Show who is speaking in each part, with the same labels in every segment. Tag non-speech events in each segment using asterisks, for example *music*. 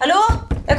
Speaker 1: Hallo? Jeg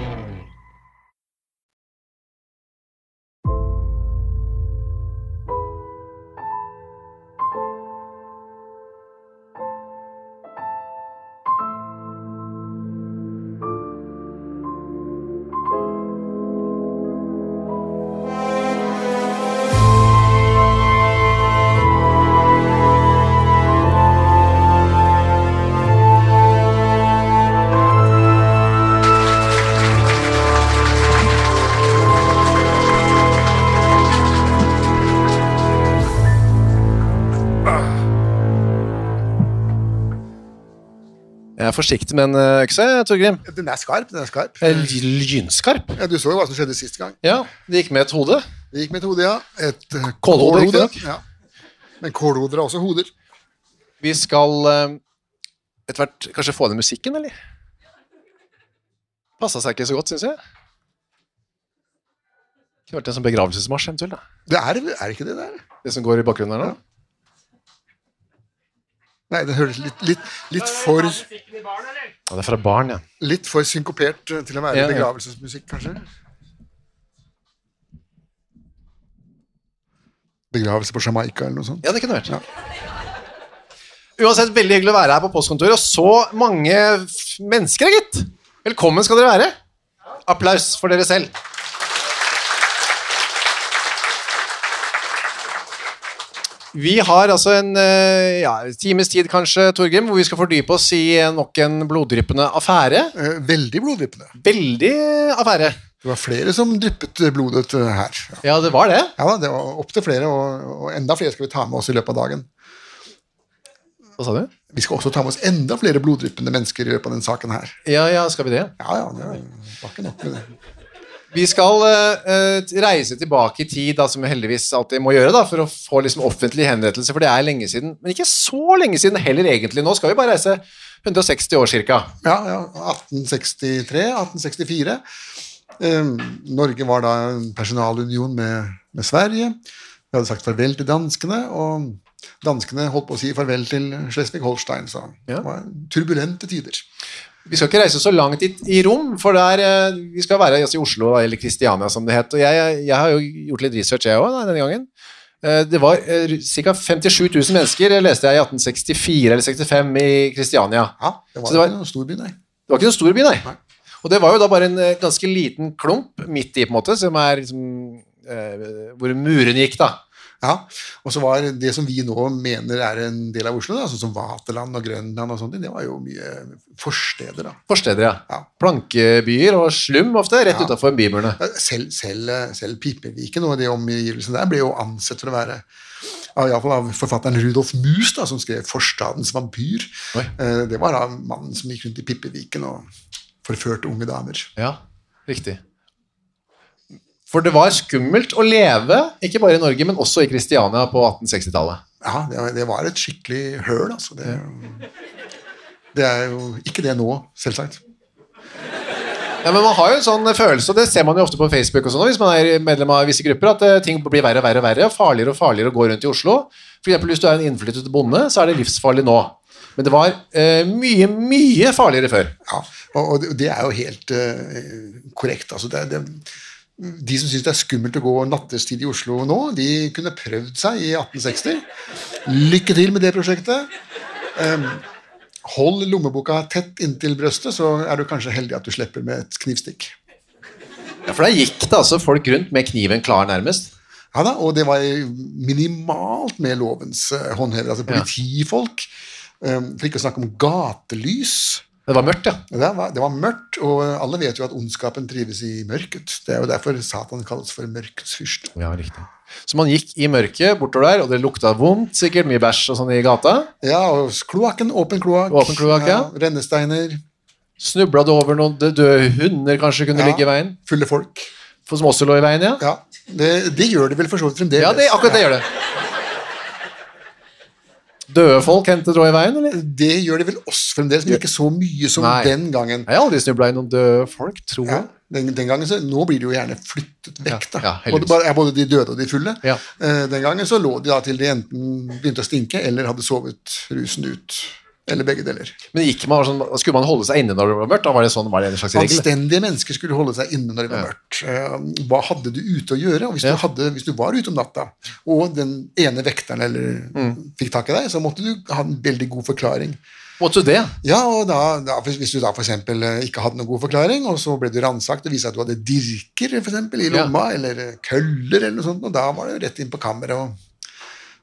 Speaker 2: Jeg er forsiktig med en eh, økse, Torgrim.
Speaker 3: Den er skarp, den er skarp.
Speaker 2: Jeg er ly- Lynskarp.
Speaker 3: Ja, du så jo hva som skjedde sist gang.
Speaker 2: Ja, det gikk med et hode.
Speaker 3: Det gikk med et hode, ja. Et eh,
Speaker 2: Kålhode,
Speaker 3: kålhode,
Speaker 2: riktignok.
Speaker 3: Ja. Men kålhoder er også hoder.
Speaker 2: Vi skal eh, etter hvert kanskje få ned musikken, eller? Passa seg ikke så godt, syns jeg. Kunne vært en sånn begravelsesmarsj, eventuelt. da.
Speaker 3: Det er, er det ikke det der?
Speaker 2: Det som går i bakgrunnen her nå.
Speaker 3: Nei, det høres litt, litt, litt, for,
Speaker 2: Ja, det er fra barn, ja.
Speaker 3: litt for synkopert eh, til å være
Speaker 2: Ja, ja.
Speaker 3: begravelsesmusikk, kanskje. Begravelse på Jamaica eller noe sånt.
Speaker 2: Ja, det kunne det vært. Uansett, veldig hyggelig å være her på postkontoret. Og så mange f- mennesker, gitt! Velkommen skal dere være. Applaus for dere selv. Vi har altså en eh, ja, times tid, kanskje, Torgrim, hvor vi skal fordype oss i eh, nok en bloddryppende affære.
Speaker 3: Eh, Veldig bloddryppende.
Speaker 2: Veldig affære.
Speaker 3: Det var flere som dryppet eh, blodet eh, her. Ja.
Speaker 2: Ja, det var det.
Speaker 3: Ja da, det var opptil flere, og, og enda flere skal vi ta med oss i løpet av dagen.
Speaker 2: Hva sa du?
Speaker 3: Vi skal også ta med oss enda flere bloddryppende mennesker i løpet av denne saken her.
Speaker 2: Ja, ja, skal vi det?
Speaker 3: Ja, ja, det var ikke nok med det.
Speaker 2: Vi skal eh, eh, reise tilbake i tid, da, som vi heldigvis alltid må gjøre, da, for å få liksom, offentlig henrettelse, for det er lenge siden. Men ikke så lenge siden heller, egentlig. Nå skal vi bare reise 160 år, cirka.
Speaker 3: Ja, ja, 1863, 1864. Eh, Norge var da en personalunion med, med Sverige. Vi hadde sagt farvel til danskene, og danskene holdt på å si farvel til Schleswig-Holstein, så
Speaker 2: Ja.
Speaker 3: det var turbulente tider.
Speaker 2: Vi skal ikke reise så langt i, i rom, for der, eh, vi skal være altså, i Oslo, da, eller Kristiania, som det het. Og jeg, jeg har jo gjort litt research, jeg òg, denne gangen. Eh, det var uh, ca. 57 000 mennesker, leste jeg, i 1864 eller 65 i Kristiania.
Speaker 3: Ja, det
Speaker 2: Så
Speaker 3: var,
Speaker 2: det var-
Speaker 3: ikke noen stor by, nei.
Speaker 2: Det var ikke noen stor by, nei. Og det var jo da bare en eh, ganske liten klump midt i, på en måte, som er liksom eh, Hvor muren gikk, da.
Speaker 3: Ja, Og så var det som vi nå mener er en del av Oslo, da, sånn som Vaterland og Grønland, og sånt, det var jo mye forsteder. da.
Speaker 2: Forsteder, ja.
Speaker 3: Ja.
Speaker 2: Plankebyer og slum ofte, rett
Speaker 3: Ja.
Speaker 2: utenfor bymurene.
Speaker 3: Ja, Selv, selv, selv Piperviken og de omgivelsene der ble jo ansett for å være av, i alle fall av forfatteren Rudolf Mus, da, som skrev 'Forstadens vampyr'.
Speaker 2: Oi.
Speaker 3: Eh, Det var da mannen som gikk rundt i Piperviken og forførte unge damer.
Speaker 2: Ja, riktig. For det var skummelt å leve, ikke bare i Norge, men også i Kristiania på 1860-tallet.
Speaker 3: Ja, det, var- det var et skikkelig høl, altså. Det, det er jo ikke det nå, selvsagt.
Speaker 2: Ja, men Man har jo en sånn følelse, og det ser man jo ofte på Facebook, og sånn, hvis man er medlem av visse grupper, at eh, ting blir verre og verre og verre, og farligere og farligere å gå rundt i Oslo. For eksempel, hvis du er en innflyttet bonde, så er det livsfarlig nå. Men det var eh, mye, mye farligere før.
Speaker 3: Ja, og, og det- det er jo helt eh, korrekt. Altså, det, det, de som syns det er skummelt å gå nattestid i Oslo nå, de kunne prøvd seg i 1860. Lykke til med det prosjektet. Em, hold lommeboka tett inntil brøstet, så er du kanskje heldig at du slipper med et knivstikk.
Speaker 2: Ja, for der gikk det altså folk rundt med kniven klar nærmest.
Speaker 3: Ja da, og det var minimalt med lovens eh, håndhever, altså politifolk. eh, For ikke å snakke om gatelys.
Speaker 2: Det var mørkt, ja.
Speaker 3: Det var, det var mørkt, og alle vet jo at ondskapen trives i mørket. Det er jo derfor Satan kalles for mørkets fyrste.
Speaker 2: Ja, riktig. Så man gikk i mørket bortover der, og det lukta vondt sikkert, mye bæsj og sånn i gata.
Speaker 3: Ja, og kloakken, åpen kloakk.
Speaker 2: Åpen kloakk, ja.
Speaker 3: Rennesteiner,
Speaker 2: Snubla du over noen døde hunder kanskje kunne
Speaker 3: Ja.
Speaker 2: ligge i veien?
Speaker 3: fulle folk.
Speaker 2: For som også lå i veien, ja?
Speaker 3: Ja, det, det gjør de vel for så vidt fremdeles.
Speaker 2: Ja, det, akkurat det gjør det. Døde folk hendte lå i veien, eller?
Speaker 3: Det gjør de vel oss fremdeles, men ikke så mye som
Speaker 2: Nei.
Speaker 3: den gangen.
Speaker 2: Jeg har aldri snubla i noen døde folk, tror
Speaker 3: Ja,
Speaker 2: jeg.
Speaker 3: den, den gangen så, Nå blir de jo gjerne flyttet vekk, da.
Speaker 2: Ja, ja, heldigvis.
Speaker 3: både, bare- både de døde og de fulle.
Speaker 2: Ja.
Speaker 3: Eh, den gangen så lå de da til de enten begynte å stinke eller hadde sovet rusen ut. Eller begge deler.
Speaker 2: Men gikk man sånn, skulle man holde seg inne når det var mørkt? Da var det sånn, var det en slags regel?
Speaker 3: Anstendige mennesker skulle holde seg inne når det var mørkt. Eh, hva hadde du ute å gjøre? Og hvis,
Speaker 2: Ja.
Speaker 3: du hadde, hvis du var ute om natta, og den ene vekteren eller,
Speaker 2: Mm.
Speaker 3: fikk tak i deg, så måtte du ha en veldig god forklaring.
Speaker 2: Måtte du det?
Speaker 3: Ja, og da, da, Hvis du da for eksempel, eh, ikke hadde noen god forklaring, og så ble du ransakt og viste at du hadde dirker for eksempel, i
Speaker 2: Ja.
Speaker 3: lomma, eller eh, køller, eller noe sånt, og da var det jo rett inn på kammeret. og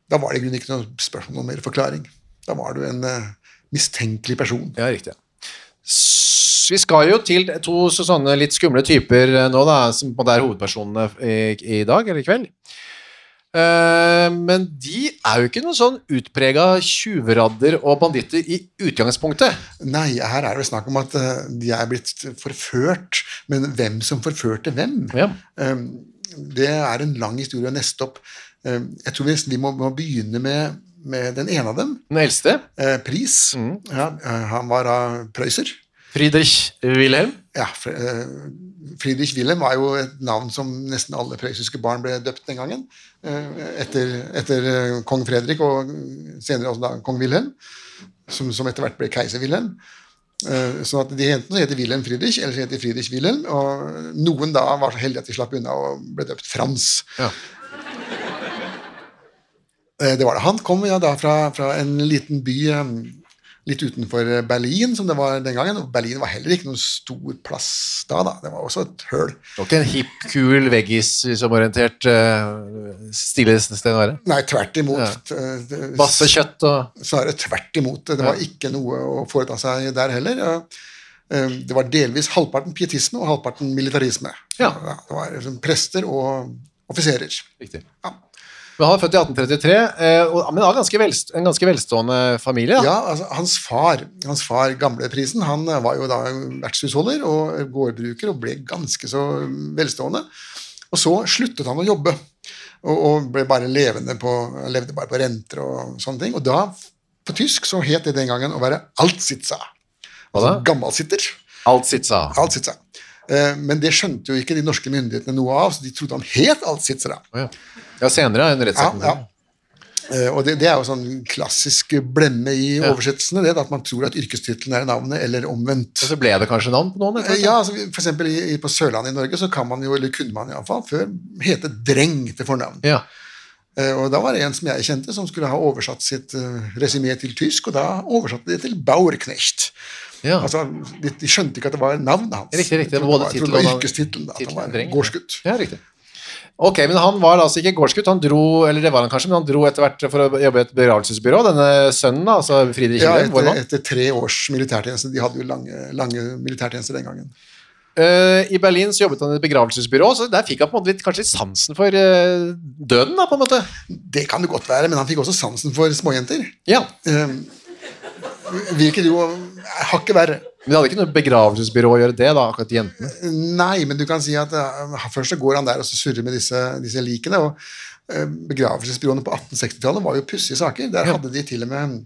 Speaker 3: Da var det i grunnen ikke noe spørsmål om mer forklaring. Da var du en eh, mistenkelig person.
Speaker 2: Ja, riktig. S- Vi skal jo til to så- sånne litt skumle typer eh, nå, da, som på en måte er hovedpersonene eh, i, i dag eller i kveld. Eh, men de er jo ikke noen sånn utprega tjuvradder og banditter i utgangspunktet.
Speaker 3: Nei, her er det snakk om at eh, de er blitt forført, men hvem som forførte hvem?
Speaker 2: Ja.
Speaker 3: Um, Det er en lang historie å neste opp. Um, Jeg tror vi, nesten vi må, må begynne med, med den ene av dem,
Speaker 2: Den eldste,
Speaker 3: eh, Pris. Ja, eh, han var av Prøyser.
Speaker 2: Friedrich Wilhelm.
Speaker 3: Ja, Fr- eh, Friedrich Wilhelm var jo et navn som nesten alle prøyssiske barn ble døpt den gangen. eh, Etter, etter eh, kong Fredrik og eh, senere også da kong Wilhelm, som, som etter hvert ble keiser Wilhelm. Eh, Sånn at de enten så heter Wilhelm Friedrich, eller så heter de Friedrich Wilhelm. Og noen da var så heldige at de slapp unna og ble døpt Frans.
Speaker 2: Ja.
Speaker 3: Eh, Det var det. Han kom ja, da fra, fra en liten by eh, litt utenfor eh, Berlin, som det var den gangen. Og Berlin var heller ikke noen stor plass da. da. Det var også et høl.
Speaker 2: Det var ikke en hipp, kul, veggisomorientert uh, stille sted å være.
Speaker 3: Nei, tvert imot.
Speaker 2: Ja.
Speaker 3: Eh, det-
Speaker 2: Masse kjøtt og
Speaker 3: Snarere tvert imot. Det var ikke noe å foreta seg der heller. Ja. Eh, Det var delvis halvparten pietisme og halvparten militarisme.
Speaker 2: Ja.
Speaker 3: Det var liksom prester og offiserer.
Speaker 2: Riktig.
Speaker 3: Ja.
Speaker 2: Men han er født i 1833, eh, og, men av ganske velst, en ganske velstående familie. da.
Speaker 3: Ja, altså, hans far, hans far gamleprisen, han eh, var jo da vertshusholder og gårdbruker og ble ganske så velstående. Og så sluttet han å jobbe, og, og ble bare levende på, levde bare på renter og sånne ting. Og da, på tysk, så het det den gangen å være altsitsa. Altså
Speaker 2: da?
Speaker 3: gammalsitter.
Speaker 2: Alt sitt, sa han.
Speaker 3: Altsitsa. Eh, Men det skjønte jo ikke de norske myndighetene noe av, så de trodde han het Altsitsa. da.
Speaker 2: Å, Ja. ja, senere enn
Speaker 3: Ja,
Speaker 2: rettssaken.
Speaker 3: ja. Eh, Og det, det er jo sånn klassisk blemme i oversettelsene, det, da, at man tror at yrkestittelen er navnet, eller omvendt.
Speaker 2: Og så ble det kanskje navn på noen?
Speaker 3: Eh,
Speaker 2: Eller?
Speaker 3: Ja, altså, for eksempel i, i- på Sørlandet i Norge så kan man jo, eller kunne man iallfall, før hete Dreng til fornavn.
Speaker 2: Ja.
Speaker 3: Eh, Og da var det en som jeg kjente, som skulle ha oversatt sitt uh, resymé til tysk, og da oversatte de til Bauerknecht.
Speaker 2: Ja.
Speaker 3: Altså, de, de skjønte ikke at det var navnet hans.
Speaker 2: Riktig, riktig.
Speaker 3: Jeg tror
Speaker 2: Både
Speaker 3: det var, jeg tror
Speaker 2: tittel og
Speaker 3: det var
Speaker 2: navn.
Speaker 3: yrkestittelen. da, At han
Speaker 2: Tittelen,
Speaker 3: var
Speaker 2: dreng.
Speaker 3: gårdsgutt.
Speaker 2: ja, riktig. Ok, men han var altså ikke gårdsgutt, han dro, eller det var han kanskje, men han dro etter hvert for å jobbe i et begravelsesbyrå, denne sønnen, da, altså Friedrich
Speaker 3: Ja,
Speaker 2: Wilhelm,
Speaker 3: etter,
Speaker 2: vår mann.
Speaker 3: etter tre års militærtjeneste. De hadde jo lange, lange militærtjenester den gangen.
Speaker 2: Eh, I Berlin så jobbet han i et begravelsesbyrå, så der fikk han på en måte litt, kanskje litt sansen for eh, døden, da, på en måte.
Speaker 3: Det kan det godt være, men han fikk også sansen for småjenter.
Speaker 2: Ja,
Speaker 3: Eh, Hvilket jo er hakket verre.
Speaker 2: men det hadde ikke noe begravelsesbyrå å gjøre det, da, akkurat jentene.
Speaker 3: Nei, men du kan si at eh, først så går han der og så surrer med disse, disse likene. og eh, Begravelsesbyråene på 1860-tallet var jo pussige saker. Der hadde de til og med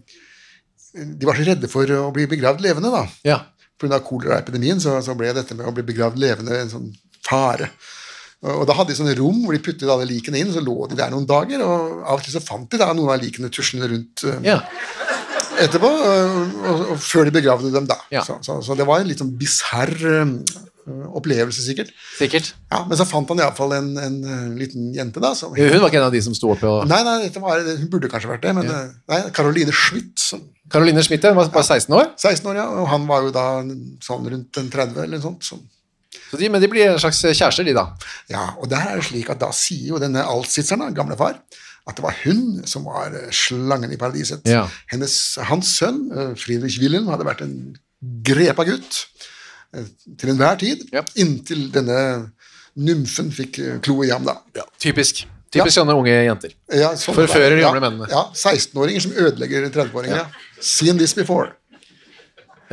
Speaker 3: De var så redde for å bli begravd levende, da.
Speaker 2: Ja.
Speaker 3: pga. koleraepidemien så, så ble dette med å bli begravd levende en sånn fare. Og og da hadde de sånne rom hvor de puttet alle likene inn, så lå de der noen dager, og av og til så fant de da noen av likene tuslende rundt eh,
Speaker 2: ja.
Speaker 3: etterpå, eh, og, og før de begravde dem da.
Speaker 2: Ja.
Speaker 3: Så, så, så det var en litt sånn bisarr eh, opplevelse, sikkert.
Speaker 2: Sikkert.
Speaker 3: Ja, men så fant han iallfall en, en eh, liten jente, da, som
Speaker 2: Hun var ikke en av de som sto oppe og...
Speaker 3: Nei, nei, dette var, hun burde kanskje vært det, men eh, nei, Caroline Schmidt, som
Speaker 2: Caroline Schmidt, ja, hun var bare 16 år.
Speaker 3: 16 år, ja, og han var jo da sånn rundt en 30 eller noe sånt. Så
Speaker 2: Så de, men de blir en slags kjærester, de, da.
Speaker 3: Ja, og der er det slik at da sier jo denne altsitzeren, da, gamle far, at det var hun som var eh, slangen i paradiset.
Speaker 2: Ja.
Speaker 3: Hennes, hans sønn, eh, Friedrich Wilhelm, hadde vært en grepa gutt eh, til enhver tid,
Speaker 2: Ja.
Speaker 3: inntil denne nymfen fikk eh, klo i ham, da. Ja,
Speaker 2: Typisk. Typisk sånne unge jenter.
Speaker 3: sånn
Speaker 2: Forfører
Speaker 3: var det.
Speaker 2: de gamle mennene.
Speaker 3: Ja, ja 16-åringer som ødelegger 30-åringer. Ja. Seen this before.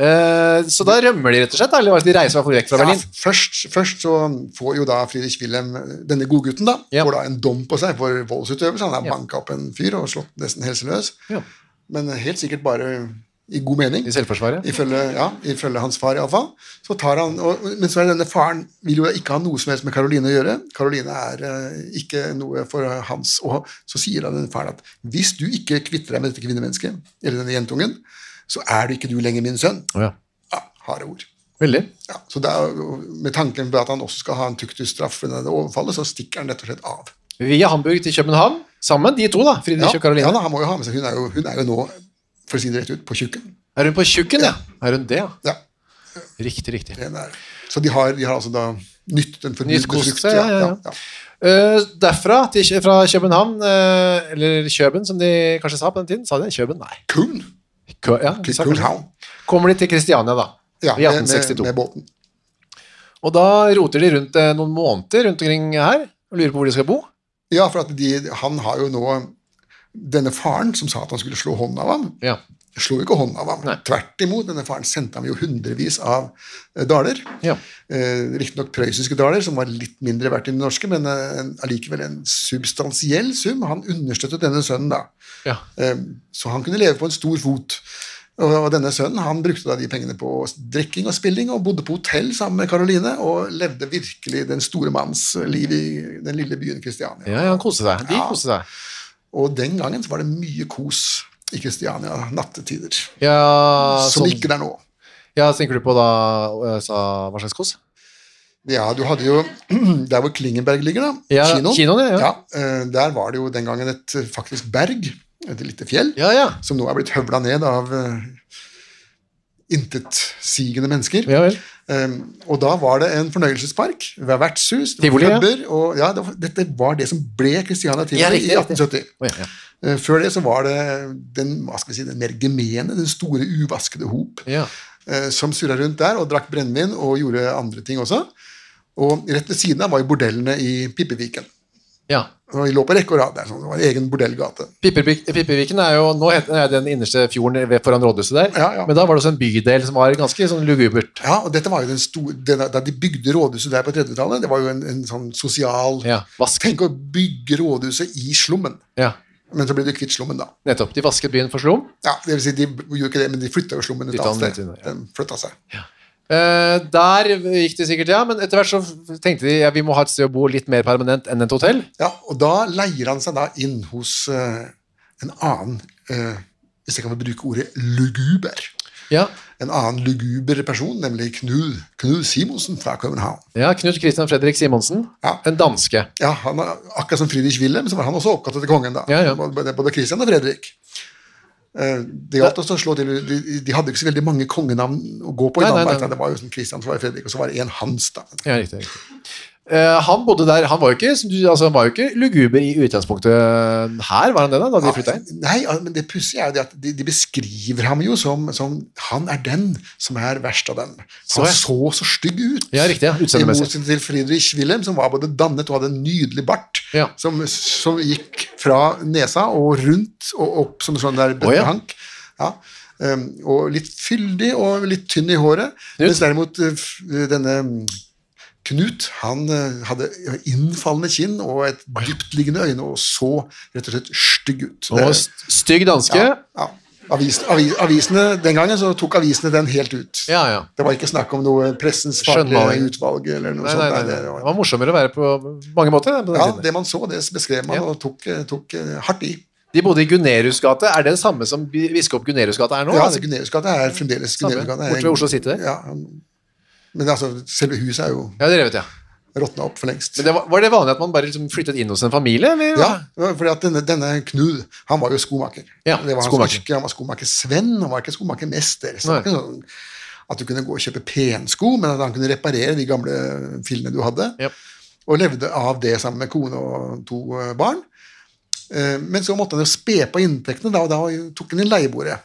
Speaker 2: Eh, så da rømmer de, rett og slett? da, Eller altså, de reiser i hvert fall vekk fra
Speaker 3: Ja,
Speaker 2: Berlin?
Speaker 3: først, først så får jo da Friedrich Wilhelm, eh, denne godgutten, da,
Speaker 2: Ja.
Speaker 3: får da en dom på seg for voldsutøvelse. Han har
Speaker 2: Ja.
Speaker 3: banka opp en fyr og slått nesten helseløs.
Speaker 2: Ja.
Speaker 3: Men helt sikkert bare i god mening.
Speaker 2: I selvforsvaret?
Speaker 3: Ifølge, ja, ifølge hans far, iallfall. Så tar han, og, men så er denne faren vil jo ikke ha noe som helst med Caroline å gjøre. Caroline er eh, ikke noe for hans Og så sier da den faren at hvis du ikke kvitter deg med dette kvinnemennesket, eller denne jentungen, så er du ikke du lenger min sønn.
Speaker 2: Å ja.
Speaker 3: Ja, harde ord.
Speaker 2: Veldig.
Speaker 3: Ja, så det er, jo- Med tanken på at han også skal ha en tuktusstraff for dette overfallet, så stikker han rett og slett av.
Speaker 2: Via Hamburg til København. Sammen, de to, da. Friedrich og Caroline.
Speaker 3: ja da, han må jo ha med seg, Hun er jo, hun er jo nå, for å si det rett ut, på tjukken.
Speaker 2: Er hun på tjukken, ja? Er hun det, ja?
Speaker 3: Ja,
Speaker 2: Riktig, riktig.
Speaker 3: det er- Så de har, de har altså da nytt den forbudte
Speaker 2: Nytt kost,
Speaker 3: frukt,
Speaker 2: ja, ja, ja. Eh, derfra, til, Kjø- fra København, eh, eller Kjøben, som de kanskje sa på den tiden Sa de Kjøben? Nei.
Speaker 3: Kuhn,
Speaker 2: Kø, ja, de
Speaker 3: til
Speaker 2: sa kanskje-
Speaker 3: Kuhnhavn.
Speaker 2: Kommer de til Kristiania, da.
Speaker 3: Ja,
Speaker 2: I
Speaker 3: med,
Speaker 2: 1862.
Speaker 3: med, med båten.
Speaker 2: Og da roter de rundt eh, noen måneder rundt omkring her og lurer på hvor de skal bo.
Speaker 3: Ja, for at de, han har jo nå Denne faren som sa at han skulle slå hånden av ham,
Speaker 2: Ja.
Speaker 3: slo ikke hånden av ham.
Speaker 2: Nei.
Speaker 3: Tvert imot, denne faren sendte ham jo hundrevis av eh, daler.
Speaker 2: Ja.
Speaker 3: Eh, Riktignok prøyssiske daler, som var litt mindre verdt enn de norske, men eh, en- allikevel en substansiell sum. Han understøttet denne sønnen, da.
Speaker 2: Ja.
Speaker 3: Eh, så han kunne leve på en stor fot. Og, og denne sønnen han brukte da de pengene på drikking og spilling, og bodde på hotell sammen med Karoline, og levde virkelig den store manns liv i den lille byen Kristiania.
Speaker 2: Ja, ja, han koste seg. De
Speaker 3: Ja.
Speaker 2: koste seg.
Speaker 3: Og den gangen så var det mye kos i Kristiania nattetider,
Speaker 2: Ja,
Speaker 3: som
Speaker 2: sånn-
Speaker 3: ikke det er nå.
Speaker 2: ja, tenker du på da eh, sa, hva slags kos?
Speaker 3: Ja, du hadde jo *clears throat* Der hvor Klingenberg ligger, da.
Speaker 2: Ja, kinoen, ja, ja.
Speaker 3: eh, Der var det jo den gangen et eh, faktisk berg, et lite fjell,
Speaker 2: Ja, ja.
Speaker 3: som nå er blitt høvla ned av eh, intetsigende mennesker.
Speaker 2: Ja vel.
Speaker 3: Eh, og da var det en fornøyelsespark, det var vertshus, det
Speaker 2: Tivoli,
Speaker 3: var
Speaker 2: ja.
Speaker 3: klubber og ja, det var, Dette var det som ble Christiania Tivoli
Speaker 2: Ja, riktig,
Speaker 3: i
Speaker 2: riktig.
Speaker 3: 1870.
Speaker 2: Å, ja, ja.
Speaker 3: Eh, Før det så var det den, hva skal vi si, den mer gemene, den store uvaskede hop
Speaker 2: Ja.
Speaker 3: eh, som surra rundt der og drakk brennevin og gjorde andre ting også. Og rett ved siden av var jo bordellene i Pippeviken.
Speaker 2: ja.
Speaker 3: Og de lå på rekke og rad der, sånn. det var en egen bordellgate.
Speaker 2: Pippervik- Pipperviken er jo nå heter den, er den innerste fjorden ved- foran rådhuset der.
Speaker 3: Ja, ja.
Speaker 2: Men da var det også en bydel som var ganske sånn lugubert.
Speaker 3: Ja, og dette var jo den store, den, Da de bygde rådhuset der på 30-tallet, det var jo en, en sånn sosial
Speaker 2: Ja, vask.
Speaker 3: Tenk å bygge rådhuset i slummen.
Speaker 2: Ja,
Speaker 3: Men så ble det kvitt slummen, da.
Speaker 2: nettopp. De vasket byen for slum.
Speaker 3: Ja, det vil si, De gjorde ikke det, men de flytta jo slummen et
Speaker 2: Flytta
Speaker 3: annet
Speaker 2: den ut
Speaker 3: sted.
Speaker 2: i- ja.
Speaker 3: Den flytta seg.
Speaker 2: Eh, der gikk det sikkert, ja. Men etter hvert så tenkte de ja, vi må ha et sted å bo litt mer permanent enn et hotell.
Speaker 3: Ja, og da leier han seg da inn hos eh, en annen eh, Hvis jeg kan bruke ordet luguber.
Speaker 2: Ja,
Speaker 3: En annen luguber person, nemlig Knut, Knut Simonsen fra København.
Speaker 2: ja Knut Christian Fredrik Simonsen.
Speaker 3: Ja.
Speaker 2: En danske.
Speaker 3: Ja, han, er- Akkurat som Friedrich Wilhelm, så var han også oppkalt etter kongen. da.
Speaker 2: Ja, ja.
Speaker 3: Både både Christian og Fredrik. Eh, Det gjaldt også å slå til, de, de hadde ikke så veldig mange kongenavn å gå på i
Speaker 2: Nei, nei,
Speaker 3: Danmark.
Speaker 2: nei.
Speaker 3: da. Det var jo som Christian, så var det Fredrik, og så var det en Hans. da.
Speaker 2: Ja, riktig, riktig. Eh, han bodde der, han var jo ikke, som du- altså, han var jo ikke luguber i utgangspunktet her, var han det da, da de flytta inn?
Speaker 3: Nei, al- men det pussige er jo det at de, de beskriver ham jo som, som Han er den som er verst av dem.
Speaker 2: Så
Speaker 3: Han
Speaker 2: ja.
Speaker 3: så så stygg ut.
Speaker 2: Ja, riktig, ja,
Speaker 3: I
Speaker 2: utseendemessig.
Speaker 3: motsetning til Friedrich Wilhelm, som var både dannet og hadde en nydelig bart.
Speaker 2: Ja.
Speaker 3: Som, som gikk fra nesa og rundt og opp som en sånn der
Speaker 2: Å, ja.
Speaker 3: bøttehank. Ja. Um, og litt fyldig og litt tynn i håret.
Speaker 2: Knut?
Speaker 3: Mens derimot uh, f- denne um, Knut han eh, hadde innfallende kinn og et dyptliggende øyne og så rett og slett stygg ut.
Speaker 2: Og st- stygg danske.
Speaker 3: ja, ja. Avis, avi- avisene, Den gangen så tok avisene den helt ut.
Speaker 2: Ja, ja.
Speaker 3: Det var ikke snakk om noe pressens faglige
Speaker 2: Skjønnmaling.
Speaker 3: utvalg eller noe
Speaker 2: Nei,
Speaker 3: sånt.
Speaker 2: nei, nei,
Speaker 3: Sånn, Nei, det
Speaker 2: nei. Det
Speaker 3: var-
Speaker 2: var morsommere å være på mange måter. På den
Speaker 3: ja,
Speaker 2: tiden.
Speaker 3: det man så, det beskrev man
Speaker 2: Ja.
Speaker 3: og tok, eh, tok eh, hardt i.
Speaker 2: De bodde i Gunerius gate. Er det det samme som bi- biskop Gunerius gate er nå?
Speaker 3: Ja,
Speaker 2: eller?
Speaker 3: altså, Guneriusgata er fremdeles
Speaker 2: Samme,
Speaker 3: Guneriusgata.
Speaker 2: borte ved Oslo City der.
Speaker 3: Ja, men altså, selve huset er jo
Speaker 2: ja det vet jeg.
Speaker 3: råtna opp for lengst.
Speaker 2: Men det var, var det vanlig at man bare liksom flyttet inn hos en familie? Eller?
Speaker 3: Ja, fordi at denne, denne Knud, han var jo skomaker.
Speaker 2: Ja,
Speaker 3: det var hans
Speaker 2: skomaker.
Speaker 3: yrke, han var skomaker Sven, han var ikke skomaker mester. Så det var
Speaker 2: Nei.
Speaker 3: ikke sånn At du kunne gå og kjøpe pensko, men at han kunne reparere de gamle fillene du hadde.
Speaker 2: Jep.
Speaker 3: Og levde av det sammen med kone og to eh, barn. Eh, Men så måtte han jo spe på inntektene, da, og da tok han inn leiebordet.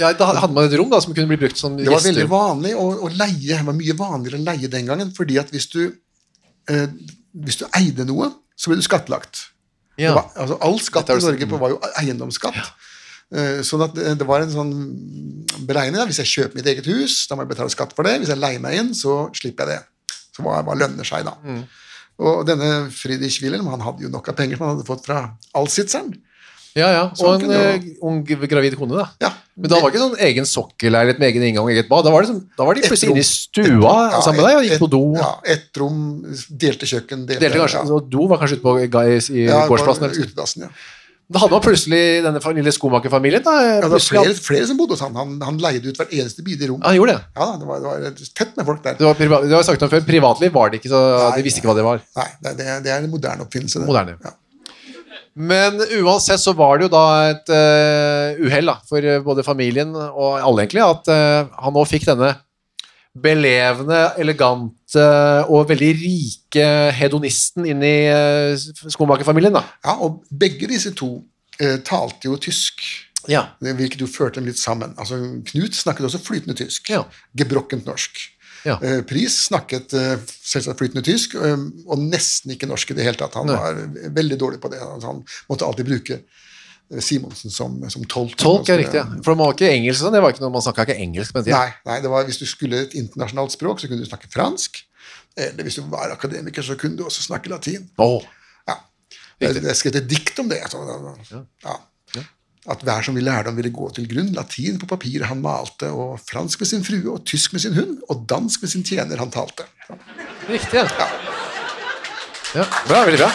Speaker 2: Ja, da hadde man et rom da, som kunne bli brukt som
Speaker 3: Det var veldig
Speaker 2: gjesterom.
Speaker 3: vanlig å, å leie. Det var mye vanligere å leie den gangen, fordi at hvis du, eh, hvis du eide noe, så ble du skattlagt.
Speaker 2: Ja.
Speaker 3: Det var, altså, all skatt
Speaker 2: Dette sånn- har
Speaker 3: i
Speaker 2: du
Speaker 3: Norge
Speaker 2: sett.
Speaker 3: på var jo eiendomsskatt. Eh, Sånn at eh, det var en sånn beregning. Da. Hvis jeg kjøper mitt eget hus, da må jeg betale skatt for det. Hvis jeg leier meg inn, så slipper jeg det. Så hva, hva lønner seg, da?
Speaker 2: Mm.
Speaker 3: Og denne Friedrich Wilhelm han hadde jo nok av penger som han hadde fått fra Alsitzeren.
Speaker 2: Ja, ja.
Speaker 3: Sånn
Speaker 2: Og en
Speaker 3: kunne det
Speaker 2: eh, ung gravid kone, da.
Speaker 3: Ja.
Speaker 2: Men da var det ikke sånn egen sokkelleilighet med egen inngang og eget bad. Da var, det sånn, da var de
Speaker 3: Et
Speaker 2: plutselig
Speaker 3: rom.
Speaker 2: inne i stua sammen med deg og gikk på do.
Speaker 3: Ja, Ett rom, delte kjøkken, delte,
Speaker 2: Delte kanskje,
Speaker 3: ja.
Speaker 2: og Do var kanskje ute på guys i
Speaker 3: Ja,
Speaker 2: gårdsplassen.
Speaker 3: bare
Speaker 2: eller noe sånt.
Speaker 3: Utedassen, ja.
Speaker 2: Da hadde man plutselig denne fa- lille skomakerfamilien. da.
Speaker 3: ja det var
Speaker 2: plutselig
Speaker 3: flere,
Speaker 2: hadde-
Speaker 3: flere som bodde hos han. Han, han leide ut hvert eneste bidige rom.
Speaker 2: Ja, han gjorde det.
Speaker 3: Ja, da, det, var, det var tett med folk der.
Speaker 2: Det var, priva- det var sagt om før, Privatliv var det ikke, så de visste ikke hva det var.
Speaker 3: Nei, det, det, det er en moderne oppfinnelse. Det.
Speaker 2: Moderne.
Speaker 3: Ja.
Speaker 2: Men uansett så var det jo da et eh, uhell da, for eh, både familien og alle, egentlig, at eh, han nå fikk denne belevende, elegante og veldig rike hedonisten inn i eh, skomakerfamilien. da.
Speaker 3: Ja, og begge disse to eh, talte jo tysk, hvilket jo førte dem litt sammen. Altså, Knut snakket også flytende tysk.
Speaker 2: Ja.
Speaker 3: Gebrokkent norsk.
Speaker 2: Ja.
Speaker 3: Eh, Pris snakket eh, selvsagt flytende tysk, eh, og nesten ikke norsk i det hele tatt. Han
Speaker 2: Nei.
Speaker 3: var veldig dårlig på det. Altså, han måtte alltid bruke eh, Simonsen som, som tolk.
Speaker 2: Tolk er
Speaker 3: Altså,
Speaker 2: riktig, ja. For man var ikke engelsk, sånn. det var ikke noe, man snakka ikke engelsk på den tiden.
Speaker 3: Nei, nei det var, hvis du skulle et internasjonalt språk, så kunne du snakke fransk. Eller hvis du var akademiker, så kunne du også snakke latin.
Speaker 2: Åh.
Speaker 3: Ja. Jeg, jeg skrev et dikt om det. Altså. Ja. At hver som ville lærdom ville gå til grunn. Latin på papiret han malte, og fransk med sin frue, og tysk med sin hund, og dansk med sin tjener han talte.
Speaker 2: Riktig, ja. ja. Bra, veldig bra.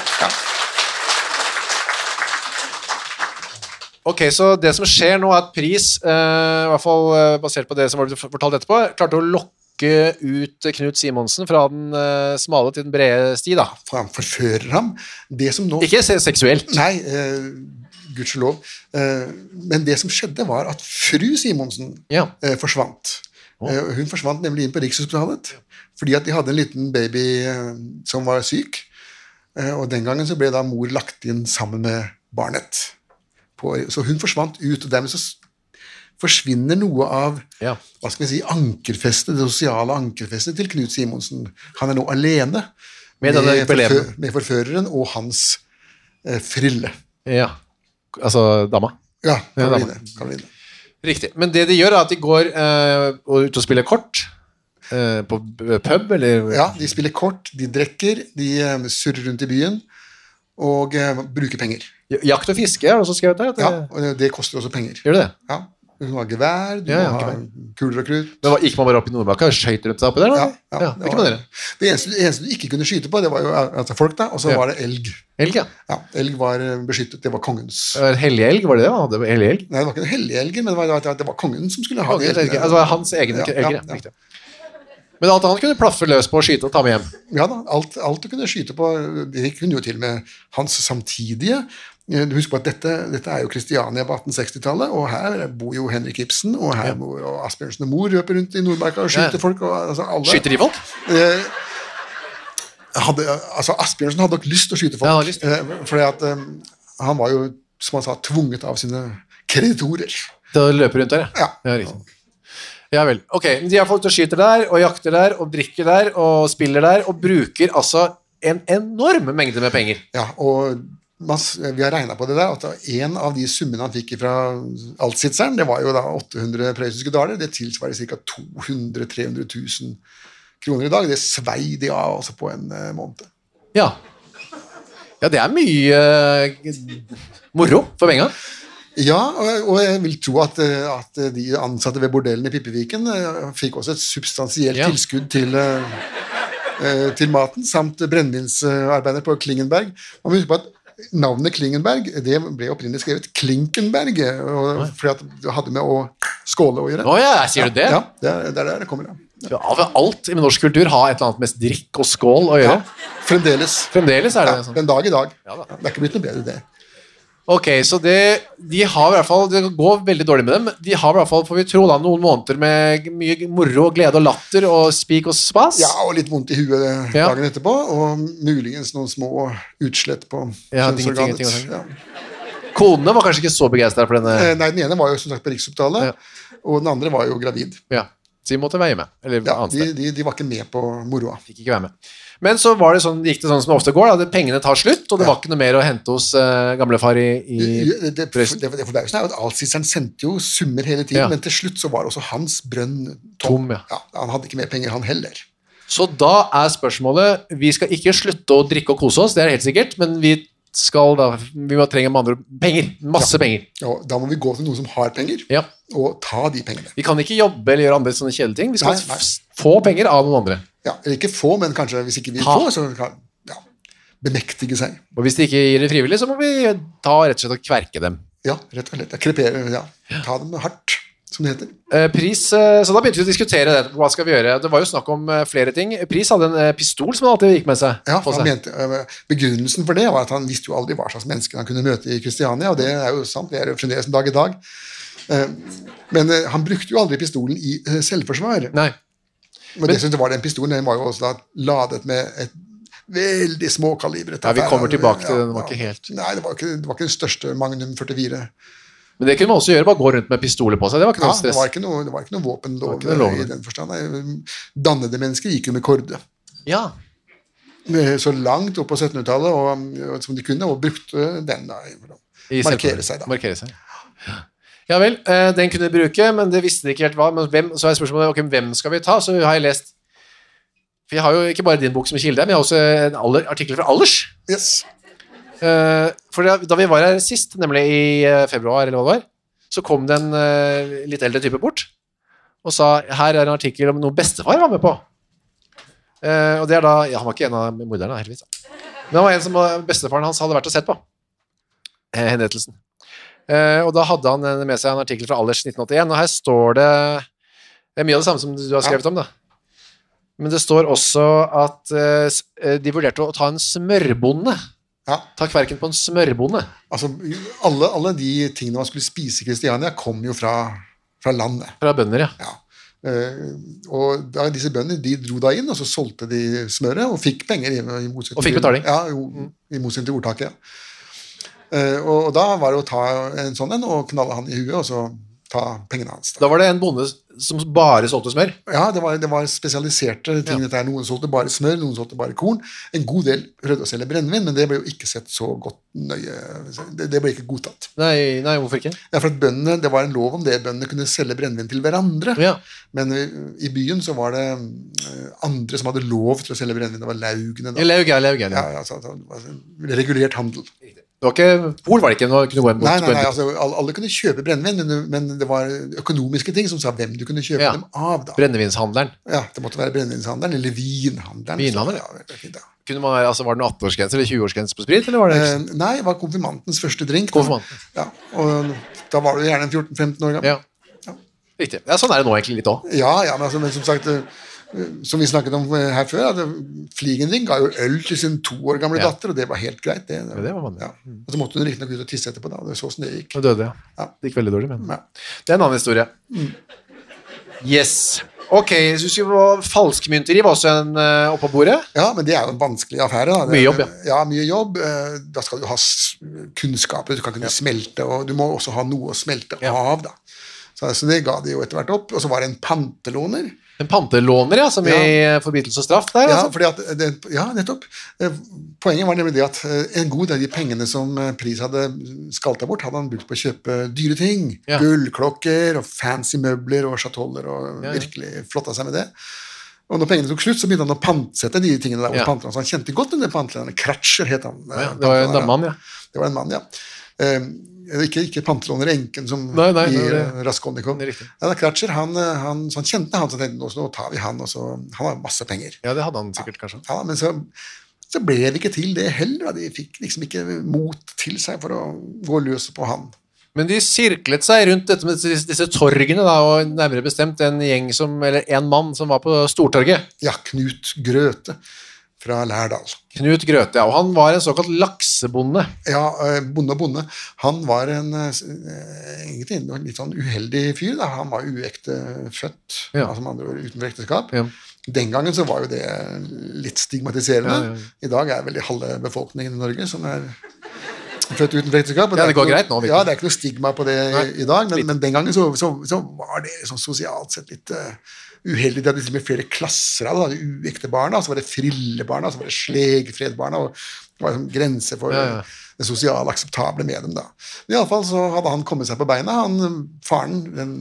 Speaker 2: Ok, så det som skjer nå er at Pris, eh, i hvert fall eh, basert på det som ble fortalt etterpå, klarte å lokke ut Knut Simonsen fra den eh, smale til den brede sti, da.
Speaker 3: For han forfører ham. Det som nå
Speaker 2: Ikke se seksuelt.
Speaker 3: Nei, eh, gudskjelov. Eh, men det som skjedde, var at fru Simonsen
Speaker 2: Ja.
Speaker 3: eh, forsvant. Eh, hun forsvant nemlig inn på Rikshospitalet fordi at de hadde en liten baby eh, som var syk. Eh, og den gangen så ble da mor lagt inn sammen med barnet. På, så hun forsvant ut, og dermed så s- forsvinner noe av
Speaker 2: Ja.
Speaker 3: hva skal vi si, ankerfestet, det sosiale ankerfestet til Knut Simonsen. Han er nå alene
Speaker 2: Med denne beleven.
Speaker 3: med forføreren og hans eh, frille.
Speaker 2: ja. Altså dama.
Speaker 3: Ja,
Speaker 2: Ja, da-
Speaker 3: Karoline. Karoline.
Speaker 2: Riktig. Men det de gjør, er at de går eh, og ut og spiller kort. Eh, på b- pub, eller
Speaker 3: Ja, de spiller kort, de drikker, de eh, surrer rundt i byen og eh, bruker penger.
Speaker 2: Jakt og fiske, er det også skrevet der? at det-
Speaker 3: Ja, og det- det koster også penger.
Speaker 2: Gjør det det?
Speaker 3: Ja, du må ha gevær, du
Speaker 2: Ja, ja,
Speaker 3: må ha kuler og krutt.
Speaker 2: Men hva- Gikk man bare opp i Nordmarka og skøyt rundt seg oppi der? eller?
Speaker 3: ja,
Speaker 2: ja,
Speaker 3: det
Speaker 2: ikke
Speaker 3: var-
Speaker 2: med dere.
Speaker 3: Det eneste, det eneste du ikke kunne skyte på, det var jo altså, folk, da, og så
Speaker 2: Ja.
Speaker 3: var det elg.
Speaker 2: Elg, ja.
Speaker 3: Ja, Elg var eh, beskyttet, det var kongens.
Speaker 2: Det var Hellig elg, var det det? Ja, det var hellig elg.
Speaker 3: Nei, det var ikke den hellige elgen, men det var, det var- det var kongen som skulle ha
Speaker 2: Kongen,
Speaker 3: de
Speaker 2: elg.
Speaker 3: elgene.
Speaker 2: Altså, det var hans egne
Speaker 3: Ja,
Speaker 2: elger.
Speaker 3: ja,
Speaker 2: Ja,
Speaker 3: ja.
Speaker 2: riktig. Men at han kunne plaffe løs på å skyte og ta med hjem.
Speaker 3: Ja da, alt, alt du kunne skyte på. Det kunne jo til og med hans samtidige. Eh, Du husker på at dette, dette er jo Kristiania på 1860-tallet, og her bor jo Henrik Ibsen, og her bor og Asbjørnsen og Moe røper rundt i Nordmarka og
Speaker 2: Ja.
Speaker 3: skyter folk. og altså alle.
Speaker 2: Skyter de folk?
Speaker 3: Eh, hadde, altså Asbjørnsen hadde nok lyst til å skyte folk.
Speaker 2: Ja, han hadde lyst.
Speaker 3: eh, fordi at eh, han var jo, som han sa, tvunget av sine kreditorer.
Speaker 2: Til å løpe rundt der,
Speaker 3: Ja.
Speaker 2: ja riktig. Ja vel. Ok, men de er folk til å skyter der, og jakter der, og drikker der, og spiller der, og bruker altså en enorm mengde med penger.
Speaker 3: Ja, og man, s- vi har regna på det der, at en av de summene han fikk fra Altsitzeren, det var jo da 800 prøyssiske daler, det tilsvarer ca. 200 000-300 000 kroner i dag. Det svei de av altså på en eh, måned.
Speaker 2: Ja. Ja, det er mye eh, moro for penga.
Speaker 3: Ja, og, og jeg vil tro at, eh, at de ansatte ved bordellen i Pippeviken eh, fikk også et substansielt
Speaker 2: Ja.
Speaker 3: tilskudd til eh, eh, til maten, samt brennevinsarbeider på Klingenberg. Man må huske på at navnet Klingenberg det ble opprinnelig skrevet Klinkenberg, og- fordi at det hadde med å skåle å gjøre.
Speaker 2: Å ja, sier du det?
Speaker 3: Ja, det er det er der det kommer. Ja.
Speaker 2: Ja, over alt i norsk kultur har et eller annet med drikk og skål å gjøre.
Speaker 3: Fremdeles.
Speaker 2: Fremdeles er det
Speaker 3: Ja,
Speaker 2: sånn.
Speaker 3: den dag i dag.
Speaker 2: Ja da.
Speaker 3: Det er ikke blitt noe bedre, det.
Speaker 2: Ok, så det, de har i hvert fall, det går veldig dårlig med dem. De har i hvert fall, får vi tro, da, noen måneder med mye moro, glede og latter og spik og spas.
Speaker 3: Ja, og litt vondt i huet eh,
Speaker 2: Ja.
Speaker 3: dagen etterpå, og muligens noen små utslett på
Speaker 2: Ja, ting- ting-
Speaker 3: kjønnsorganet.
Speaker 2: ting- ting-
Speaker 3: Ja.
Speaker 2: Konene var kanskje ikke så begeistra for denne.
Speaker 3: Eh, Nei, den ene var jo som sagt på Rikshospitalet,
Speaker 2: Ja.
Speaker 3: og den andre var jo gravid.
Speaker 2: Ja, så de måtte veie med. Eller
Speaker 3: Ja,
Speaker 2: annet
Speaker 3: de,
Speaker 2: sted.
Speaker 3: de, de var ikke med på moroa.
Speaker 2: Fikk ikke være med. Men så var det sånn, gikk det sånn som det ofte går, da. at Pengene tar slutt, og det var ikke noe mer å hente hos eh, gamlefar i, i
Speaker 3: Det, det, det,
Speaker 2: Prøysen.
Speaker 3: det det forbausende er jo at Alsiseren sendte jo summer hele tiden,
Speaker 2: Ja.
Speaker 3: men til slutt så var også hans brønn tom.
Speaker 2: Tom, ja.
Speaker 3: Han hadde ikke mer penger, han heller.
Speaker 2: Så da er spørsmålet Vi skal ikke slutte å drikke og kose oss, det er helt sikkert, men vi skal da Vi må trenge med andre ord penger. Masse penger.
Speaker 3: Og da må vi gå til noen som har penger,
Speaker 2: Ja.
Speaker 3: og ta de pengene.
Speaker 2: Vi kan ikke jobbe eller gjøre andre sånne kjedelige ting. Vi skal
Speaker 3: Nei, nei.
Speaker 2: f- få penger av noen andre.
Speaker 3: Ja, eller ikke få, men kanskje hvis ikke vi
Speaker 2: Ta.
Speaker 3: får, så kan ja, bemektige seg.
Speaker 2: Og hvis de ikke gir det frivillig, så må vi ta rett og slett og kverke dem.
Speaker 3: Ja, rett og slett. Ja, Krepere, ja. Ta dem hardt, som det heter.
Speaker 2: Eh, Pris, eh, så da begynte vi å diskutere det. Hva skal vi gjøre? Det var jo snakk om eh, flere ting. Pris hadde en eh, pistol som han alltid gikk med seg.
Speaker 3: Ja,
Speaker 2: på
Speaker 3: han
Speaker 2: seg.
Speaker 3: mente, øh, begrunnelsen for det var at han visste jo aldri hva slags mennesker han kunne møte i Kristiania, og det er jo sant, det er jo fremdeles en dag i dag. Eh, Men eh, han brukte jo aldri pistolen i eh, selvforsvar.
Speaker 2: Nei.
Speaker 3: Men dessuten var den pistolen den var jo også da ladet med et veldig småkalibret
Speaker 2: Ja, vi
Speaker 3: vær-
Speaker 2: kommer tilbake til
Speaker 3: ja,
Speaker 2: den, den var
Speaker 3: ja.
Speaker 2: ikke helt-
Speaker 3: Nei, det var ikke, det var ikke den største Magnum 44.
Speaker 2: Men det kunne man også gjøre. Bare gå rundt med pistoler på seg. Det var ikke
Speaker 3: Ja,
Speaker 2: noe
Speaker 3: det,
Speaker 2: stress.
Speaker 3: var ikke noe, det var ikke noe våpenlov
Speaker 2: Det var ikke noe lov.
Speaker 3: eh, i den forstand. Nei, Dannede mennesker gikk jo med korde.
Speaker 2: Ja.
Speaker 3: eh, Så langt opp på 1700-tallet og- og som de kunne, og brukte den. da,
Speaker 2: I
Speaker 3: Markere
Speaker 2: selvforsvar.
Speaker 3: seg, da.
Speaker 2: Markere seg. Ja vel, eh, den kunne de bruke, men det visste de ikke helt hva. Men hvem, så er spørsmålet ok, hvem skal vi ta? Så har jeg lest For jeg har jo ikke bare din bok som kilde, men jeg har også en aller, artikkel fra Allers.
Speaker 3: Yes.
Speaker 2: Eh, for da, da vi var her sist, nemlig i eh, februar, eller hva det var, så kom det en eh, litt eldre type bort og sa her er en artikkel om noe bestefar var med på. Eh, og det er da ja, Han var ikke en av morderne, da, heldigvis. da. Men han var en som eh, bestefaren hans hadde vært og sett på. Eh, henrettelsen. Eh, og da hadde han eh, med seg en artikkel fra Allers 1981, og her står det Det er mye av det samme som du har skrevet om, da. Men det står også at eh, s- eh, de vurderte å ta en smørbonde.
Speaker 3: Ja,
Speaker 2: Ta kverken på en smørbonde.
Speaker 3: altså alle, alle de tingene man skulle spise i Kristiania, kom jo fra, fra landet.
Speaker 2: Fra bønder, ja.
Speaker 3: Ja. Eh, og da, disse bøndene de dro da inn, og så solgte de smøret og fikk penger. I, i motsetning
Speaker 2: Og fikk
Speaker 3: til-
Speaker 2: betaling.
Speaker 3: Ja, jo, i motsetning til ordtaket. Ja. Eh, og, og da var det å ta en sånn en og knalle han i huet, og så ta pengene hans. Da.
Speaker 2: Da var det en bonde som bare solgte smør.
Speaker 3: Ja, det var, det var spesialiserte ting. Dette her. Noen solgte bare smør, noen solgte bare korn. En god del prøvde å selge brennevin, men det ble jo ikke sett så godt nøye. Det, det ble ikke godtatt.
Speaker 2: Nei, nei hvorfor ikke?
Speaker 3: Ja, for at bøndene, Det var en lov om det. Bøndene kunne selge brennevin til hverandre.
Speaker 2: *laughs* Ja.
Speaker 3: Men i, i byen så var det eh, andre som hadde lov til å selge brennevin. Det var laugene. da.
Speaker 2: Eller Eugelia, Eugelia.
Speaker 3: Ja, ja, altså, det var regulert handel.
Speaker 2: Det var ikke Pol, var det ikke? Nå kunne gå en
Speaker 3: Nei, nei, nei,
Speaker 2: bot-
Speaker 3: altså, alle, alle kunne kjøpe brennevin, men, men det var økonomiske ting som sa hvem du kunne kjøpe
Speaker 2: Ja.
Speaker 3: dem av. da.
Speaker 2: Brennevinshandleren.
Speaker 3: Ja, Det måtte være brennevinshandelen eller vinhandelen.
Speaker 2: Vinhandel,
Speaker 3: ja. det er fint, ja.
Speaker 2: Kunne man, være- altså, var det noen 18-årsgrense eller 20-årsgrense på sprit? Eller var det
Speaker 3: Eh, nei, det var konfirmantens første drink. da.
Speaker 2: Konfirmanten.
Speaker 3: Ja, og da var du gjerne 14-15 år gammel.
Speaker 2: ja. Riktig. Ja, sånn er det nå egentlig litt òg.
Speaker 3: Ja, ja, men, altså, men som sagt eh, eh, Som vi snakket om eh, her før, at eh, Fligenring ga jo øl til sin to år gamle
Speaker 2: Ja.
Speaker 3: datter, og det var helt greit. Det,
Speaker 2: det var vanlig.
Speaker 3: ja. Og så måtte hun riktignok ut og tisse etterpå, da, og det var så sånn det gikk.
Speaker 2: Nå døde jeg.
Speaker 3: Ja.
Speaker 2: Det gikk veldig dårlig, men
Speaker 3: Ja.
Speaker 2: Det er en annen historie. Yes. Ok, så husker vi hva- falskmynteri var også en eh, oppå bordet.
Speaker 3: Ja, men det er jo en vanskelig affære. Da. Det,
Speaker 2: Mye jobb, ja.
Speaker 3: ja. mye jobb. eh, Da skal du ha s- kunnskaper, du skal kunne smelte, og du må også ha noe å smelte av, da. Så, så det ga de jo etter hvert opp. Og så var det en pantelåner.
Speaker 2: En pantelåner, ja, som i eh, forbrytelse og straff der.
Speaker 3: Ja,
Speaker 2: altså.
Speaker 3: fordi at det, ja, nettopp. Eh, Poenget var nemlig det at eh, en god del av de pengene som eh, Pris hadde skalta bort, hadde han brukt på å kjøpe dyre ting.
Speaker 2: Ja.
Speaker 3: Gullklokker og fancy møbler og chatoller, og
Speaker 2: Ja, ja.
Speaker 3: virkelig flotta seg med det. Og når pengene tok slutt, så begynte han å pantsette de tingene der. hos
Speaker 2: Ja.
Speaker 3: pantelerne, Så han kjente godt den der panteleren. Kratcher het han. eh,
Speaker 2: Ja, det var jo en
Speaker 3: panteleren,
Speaker 2: damemann, ja.
Speaker 3: Det var en mann, ja. Eh, ikke, ikke pantelåner enken som
Speaker 2: Nei, nei,
Speaker 3: i
Speaker 2: det var det.
Speaker 3: eh, Raskolnikov.
Speaker 2: Det er riktig.
Speaker 3: Nei, da Kratcher, han, eh, han, så han kjente han, så tenkte han "Nå- nå tar vi han, og så Han har masse penger.
Speaker 2: ja, det hadde han sikkert, kanskje.
Speaker 3: Ja, men så, så ble det ikke til det heller. Da. De fikk liksom ikke mot til seg for å gå løs på han.
Speaker 2: Men de sirklet seg rundt dette med disse, disse torgene, da, og nærmere bestemt en gjeng som, eller en mann som var på Stortorget.
Speaker 3: Ja, Knut Grøte. fra Lærdal.
Speaker 2: Knut Grøthe, ja, og han var en såkalt laksebonde.
Speaker 3: Ja, eh, bonde og bonde. Han var en eh, s- eh, egentlig en litt sånn uheldig fyr. Da. Han var uekte født,
Speaker 2: Ja.
Speaker 3: altså med andre ord utenfor ekteskap.
Speaker 2: Ja.
Speaker 3: Den gangen så var jo det litt
Speaker 2: Ja,
Speaker 3: stigmatiserende.
Speaker 2: ja,
Speaker 3: I dag er vel halve befolkningen i Norge som er født utenfor ekteskap. og
Speaker 2: Ja, det går
Speaker 3: er ikke
Speaker 2: greit nå,
Speaker 3: noe-
Speaker 2: virkelig.
Speaker 3: Ja, det er ikke noe stigma på det i,
Speaker 2: Nei,
Speaker 3: i dag, men, men den gangen så, så, så var det sånn sosialt sett litt eh, uheldig. Det hadde til og med flere klasser av det. Da hadde uekte barna, så var det frillebarna, så var det slegfredbarna. og Det var liksom grenser for
Speaker 2: Ja, ja.
Speaker 3: det sosiale akseptable med dem. da. Men i alle fall så hadde han kommet seg på beina. Han, faren den,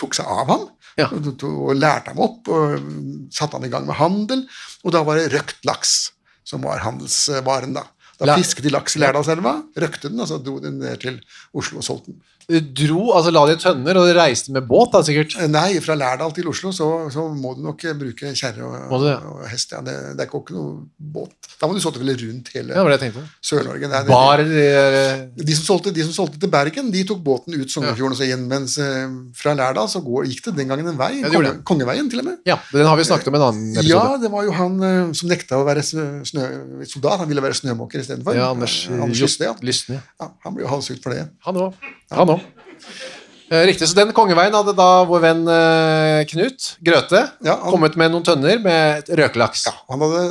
Speaker 3: tok seg av ham
Speaker 2: Ja.
Speaker 3: og, og, og lærte ham opp og mm, satte han i gang med handel. Og da var det røkt laks som var handelsvaren. da. Da
Speaker 2: La-
Speaker 3: fisket de laks i Lærdalselva, røkte den, og så dro den ned til Oslo og solgte den.
Speaker 2: Dro, altså la de tønner og reiste med båt, da sikkert.
Speaker 3: Eh, Nei, fra Lærdal til Oslo så, så må du nok eh, bruke kjerre og,
Speaker 2: Må du det?
Speaker 3: og hest. Ja. Det, det er ikke ikke noe båt. Da må du sånn vel rundt
Speaker 2: Ja, det
Speaker 3: hele
Speaker 2: var det jeg tenkte.
Speaker 3: Sør-Norge. Det er-
Speaker 2: Bar eh,
Speaker 3: De som, solgte, de som solgte til Bergen, de tok båten ut Sognefjorden og så inn, mens eh, fra Lærdal så går, gikk det den gangen en vei,
Speaker 2: Ja, det
Speaker 3: konge,
Speaker 2: gjorde det.
Speaker 3: Kongeveien til og med.
Speaker 2: Ja, den har vi snakket om i en annen
Speaker 3: Ja,
Speaker 2: episode.
Speaker 3: det var jo han eh, som nekta å være snø, snø, soldat, han ville være snømåker istedenfor.
Speaker 2: Ja, Anders,
Speaker 3: Eh, Anders
Speaker 2: Just-
Speaker 3: Juste, ja.
Speaker 2: Lysne.
Speaker 3: ja. Han ble jo halshugd for det.
Speaker 2: Han òg. Han òg. Eh, Riktig, så den kongeveien hadde da vår venn eh, Knut Grøthe
Speaker 3: Ja, han-
Speaker 2: kommet med noen tønner med røkelaks.
Speaker 3: Ja, han hadde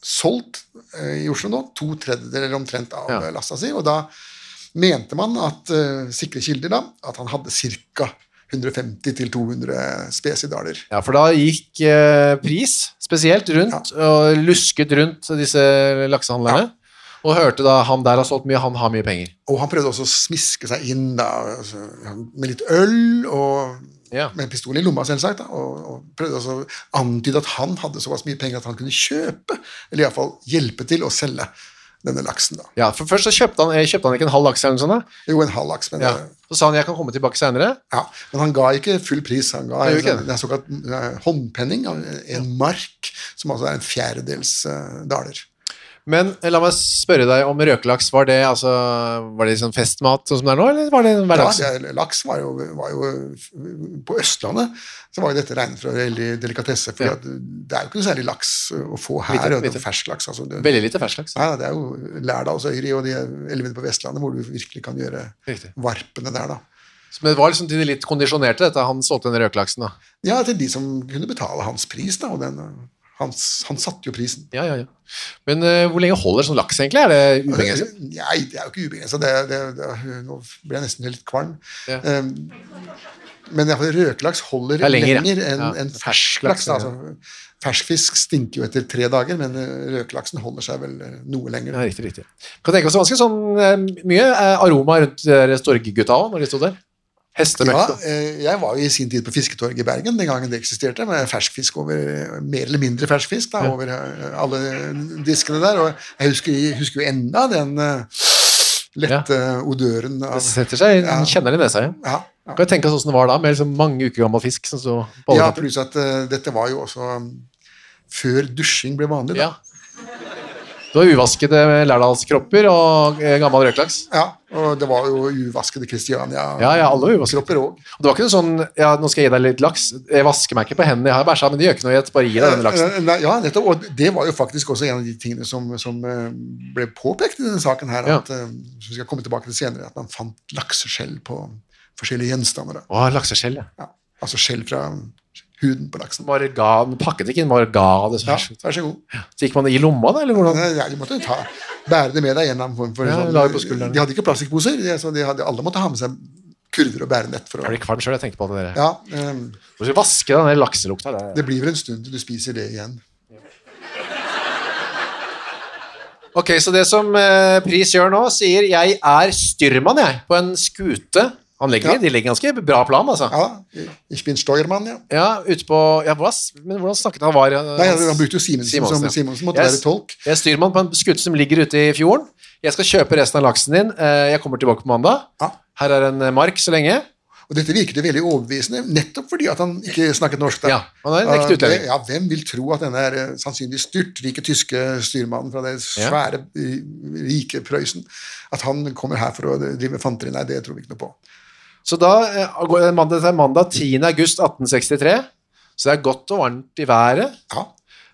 Speaker 3: solgt eh, i Oslo nå to tredjedeler omtrent av
Speaker 2: Ja.
Speaker 3: eh, lasta si, og da mente man at eh, sikre kilder da, at han hadde ca. 150-200 spesidaler.
Speaker 2: Ja, for da gikk eh, pris spesielt rundt og lusket rundt disse laksehandlerne. Og hørte da han der har solgt mye, han har mye penger.
Speaker 3: Og han prøvde også å smiske seg inn da, altså, med litt øl og
Speaker 2: Ja.
Speaker 3: med en pistol i lomma, selvsagt. Da, og, og prøvde også å antyde at han hadde såpass mye penger at han kunne kjøpe, eller iallfall hjelpe til å selge denne laksen. da.
Speaker 2: Ja, for Først så kjøpte han, eh, kjøpte han ikke en halv laks. eller noe sånt da?
Speaker 3: Jo, en halv laks, men
Speaker 2: Ja.
Speaker 3: det,
Speaker 2: Så sa han jeg kan komme tilbake senere.
Speaker 3: Ja, Men han ga ikke full pris. Han ga
Speaker 2: Han
Speaker 3: en,
Speaker 2: gjorde ikke
Speaker 3: sånn-
Speaker 2: det.
Speaker 3: en såkalt eh, håndpenning, en mark, som altså er en fjerdedels eh, daler.
Speaker 2: Men eh, la meg spørre deg om røkelaks. Var det altså, var det sånn festmat sånn som det er nå, eller var det
Speaker 3: Ja,
Speaker 2: hverdags?
Speaker 3: det- laks var jo, var jo På Østlandet så var jo dette regnet for en veldig delikatesse, for
Speaker 2: Ja.
Speaker 3: det er jo ikke noe særlig laks å få her.
Speaker 2: Lite,
Speaker 3: og det er
Speaker 2: lite.
Speaker 3: Fersk laks. Altså, det,
Speaker 2: Veldig lite fersk laks.
Speaker 3: Nei, det er jo Lærdalsøyri og de elvene på Vestlandet hvor du virkelig kan gjøre
Speaker 2: Riktig.
Speaker 3: varpene der, da.
Speaker 2: Så Men det var liksom til de litt kondisjonerte, dette. Han solgte den røkelaksen, da.
Speaker 3: Ja, til de som kunne betale hans pris, da. Og den, eh, hans, han satte jo prisen.
Speaker 2: Ja, ja, ja. Men eh, hvor lenge holder sånn laks, egentlig? Er det ubegrenset?
Speaker 3: Nei, det er jo ikke ubegrensa. Det, det, det, nå ble jeg nesten litt kvalm.
Speaker 2: Ja.
Speaker 3: Um, men i hvert fall røkelaks holder
Speaker 2: Det er lenger,
Speaker 3: lenger,
Speaker 2: ja.
Speaker 3: enn
Speaker 2: Ja,
Speaker 3: enn
Speaker 2: fersk
Speaker 3: fersk
Speaker 2: laks,
Speaker 3: laks. da. Altså, fersk fisk stinker jo etter tre dager, men eh, røkelaksen holder seg vel eh, noe lenger.
Speaker 2: Ja, riktig, riktig. Kan tenke oss ganske sånn eh, mye eh, aroma rundt de storggutta òg, når de sto der.
Speaker 3: Ja,
Speaker 2: Hestemøkk.
Speaker 3: eh, jeg var jo i sin tid på Fisketorget i Bergen den gangen det eksisterte, med ferskfisk over eh, mer eller mindre ferskfisk da, over eh, alle diskene der. Og jeg husker, jeg husker jo enda den eh, lette odøren
Speaker 2: Det
Speaker 3: av
Speaker 2: setter seg,
Speaker 3: Ja.
Speaker 2: kjenner det i nesa igjen.
Speaker 3: ja, ja.
Speaker 2: Kan jeg tenke oss hvordan det var da, med liksom mange uker gammel fisk som sto på
Speaker 3: Ja,
Speaker 2: oljekanten?
Speaker 3: pluss at eh, dette var jo også um, før dusjing ble vanlig. Da.
Speaker 2: Ja. Det var uvaskede lærdalskropper og eh, gammel røkelaks.
Speaker 3: Ja, og det var jo uvaskede Kristiania-kropper
Speaker 2: Ja, ja, alle var uvaskede.
Speaker 3: òg.
Speaker 2: Og Det var ikke noe sånn ja, 'nå skal jeg gi deg litt laks'. Jeg vasker meg ikke på hendene, jeg har bæsja, men det gjør ikke noe. Jeg bare gir deg denne laksen.
Speaker 3: Eh, Ja, nettopp. Og det var jo faktisk også en av de tingene som, som eh, ble påpekt i denne saken her,
Speaker 2: Ja.
Speaker 3: at, eh, som vi skal komme tilbake til senere, at man fant lakseskjell på forskjellige gjenstander. Da.
Speaker 2: Å, lakseskjell, ja.
Speaker 3: Ja. Altså skjell fra huden på laksen.
Speaker 2: Marga, pakket ikke inn marga det
Speaker 3: Ja,
Speaker 2: så,
Speaker 3: vær så god.
Speaker 2: så gikk man i lomma, da, eller hvordan?
Speaker 3: Nei, ja, de måtte jo ta, bære det med deg gjennom form for
Speaker 2: Ja,
Speaker 3: sånn-
Speaker 2: la det på skulderen.
Speaker 3: De hadde ikke plastikkposer, de- så de hadde, alle måtte ha med seg kurver og bærenett. For å,
Speaker 2: Jeg blir kvalm sjøl, jeg tenkte på det der.
Speaker 3: Ja, ehm,
Speaker 2: Du skal vaske den der lakselukta. det-
Speaker 3: det blir vel en stund til du spiser det igjen.
Speaker 2: Ok, så det som eh, Pris gjør nå, sier 'jeg er styrmann', jeg, på en skute. Han legger,
Speaker 3: Ja.
Speaker 2: De legger ganske bra plan, altså. Ja,
Speaker 3: Ja, ich bin Steuermann, ja.
Speaker 2: ute på ja, hva, s- Men hvordan snakket han? Var, eh,
Speaker 3: Nei, altså, han brukte jo Simonsen, som
Speaker 2: ja.
Speaker 3: Simonsen måtte
Speaker 2: Jeg
Speaker 3: være
Speaker 2: s-
Speaker 3: tolk.
Speaker 2: Jeg er styrmann på en skute som ligger ute i fjorden. Jeg skal kjøpe resten av laksen din. eh, Jeg kommer tilbake på mandag.
Speaker 3: Ja.
Speaker 2: Her er en eh, mark så lenge.
Speaker 3: Og dette virket veldig overbevisende, nettopp fordi at han ikke snakket norsk. Da.
Speaker 2: Ja, han er en ekte
Speaker 3: Eh, det-
Speaker 2: utlending.
Speaker 3: Ja, hvem vil tro at denne eh, sannsynligvis styrtrike tyske styrmannen fra det
Speaker 2: Ja.
Speaker 3: svære, eh, rike Prøysen, at han kommer her for å drive fanteri? Nei, det tror vi ikke noe på.
Speaker 2: Så da eh, går det mandag, det er mandag 10. august 1863. Så det er godt og varmt i været.
Speaker 3: Ja.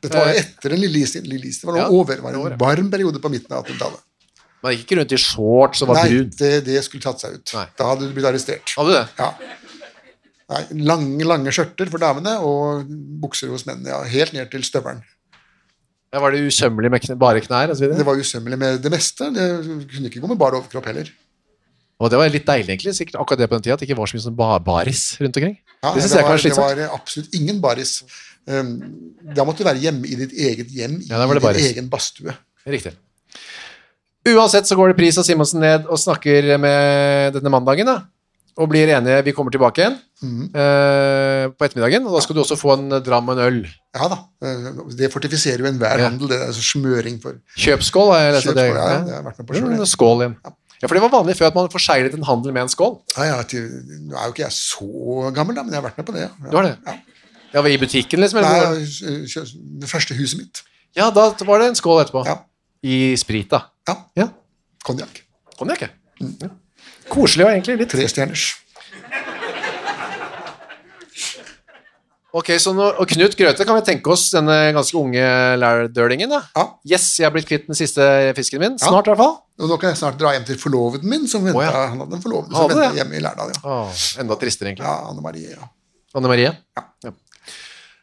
Speaker 3: Dette var etter den lille isen. Lille isen var nå
Speaker 2: Ja,
Speaker 3: over. Eh, Det var
Speaker 2: over, ja.
Speaker 3: en varm periode på midten av 1800-tallet.
Speaker 2: Man gikk ikke rundt i shorts og var
Speaker 3: Nei,
Speaker 2: brun.
Speaker 3: det, det skulle tatt seg ut.
Speaker 2: Nei.
Speaker 3: Da hadde du blitt arrestert.
Speaker 2: Hadde du det?
Speaker 3: Ja. Nei, lange, lange skjørter for damene og bukser hos mennene. Ja, helt ned til støvelen.
Speaker 2: Ja, Var det usømmelig med kn bare knær og så
Speaker 3: Det
Speaker 2: videre?
Speaker 3: var usømmelig med det meste. Det kunne ikke gå med bar overkropp heller.
Speaker 2: Og det var litt deilig, egentlig. Sikkert akkurat det på den tida, at det ikke var så mye sånn ba baris rundt omkring.
Speaker 3: Ja,
Speaker 2: det syns jeg kan
Speaker 3: var,
Speaker 2: være
Speaker 3: det
Speaker 2: slitsomt.
Speaker 3: var absolutt ingen baris. Um, da måtte du være hjemme i ditt eget hjem, i
Speaker 2: Ja, der var det
Speaker 3: din
Speaker 2: baris.
Speaker 3: egen badstue.
Speaker 2: Riktig. Uansett så går det pris av Simonsen ned og snakker med denne mandagen, da. Og blir enige. Vi kommer tilbake igjen
Speaker 3: Mhm.
Speaker 2: eh, på ettermiddagen. Og da skal du også få en eh, dram og en øl.
Speaker 3: Ja da, uh, Det fortifiserer jo enhver
Speaker 2: Ja.
Speaker 3: handel, det der altså smøring for
Speaker 2: Kjøpskål har jeg lest at det
Speaker 3: Kjøpskål, ja, det har jeg vært med på selv,
Speaker 2: Mm,
Speaker 3: jeg.
Speaker 2: Skål igjen. Ja, for det var vanlig før at man forseglet en handel med en skål.
Speaker 3: ja, ja, til, Nå er jo ikke jeg så gammel, da, men jeg har vært med på det. Ja.
Speaker 2: Det var det.
Speaker 3: Ja.
Speaker 2: Ja, var det I butikken, liksom?
Speaker 3: Nei,
Speaker 2: Eller?
Speaker 3: kjø- kjø- det første huset mitt.
Speaker 2: Ja, da var det en skål etterpå.
Speaker 3: Ja.
Speaker 2: I sprit, da.
Speaker 3: ja.
Speaker 2: Ja.
Speaker 3: Konjakk.
Speaker 2: Konjakk, ja. Koselig og egentlig litt
Speaker 3: Trestjerners.
Speaker 2: Ok, så nå, og Knut Grøthe kan vi tenke oss denne ganske unge lærdølingen. da.
Speaker 3: Ja.
Speaker 2: Yes, jeg har blitt kvitt den siste fisken min.
Speaker 3: Ja.
Speaker 2: Snart, i hvert fall.
Speaker 3: Og nå kan jeg snart dra hjem til forloveden min, som ventet,
Speaker 2: Å, ja.
Speaker 3: han hadde en forlovede
Speaker 2: Hadde
Speaker 3: som ventet
Speaker 2: det?
Speaker 3: hjemme i Lærdal. Ja.
Speaker 2: enda tristere, egentlig.
Speaker 3: ja, Anne Marie. Ja.
Speaker 2: Anne Marie? Ja.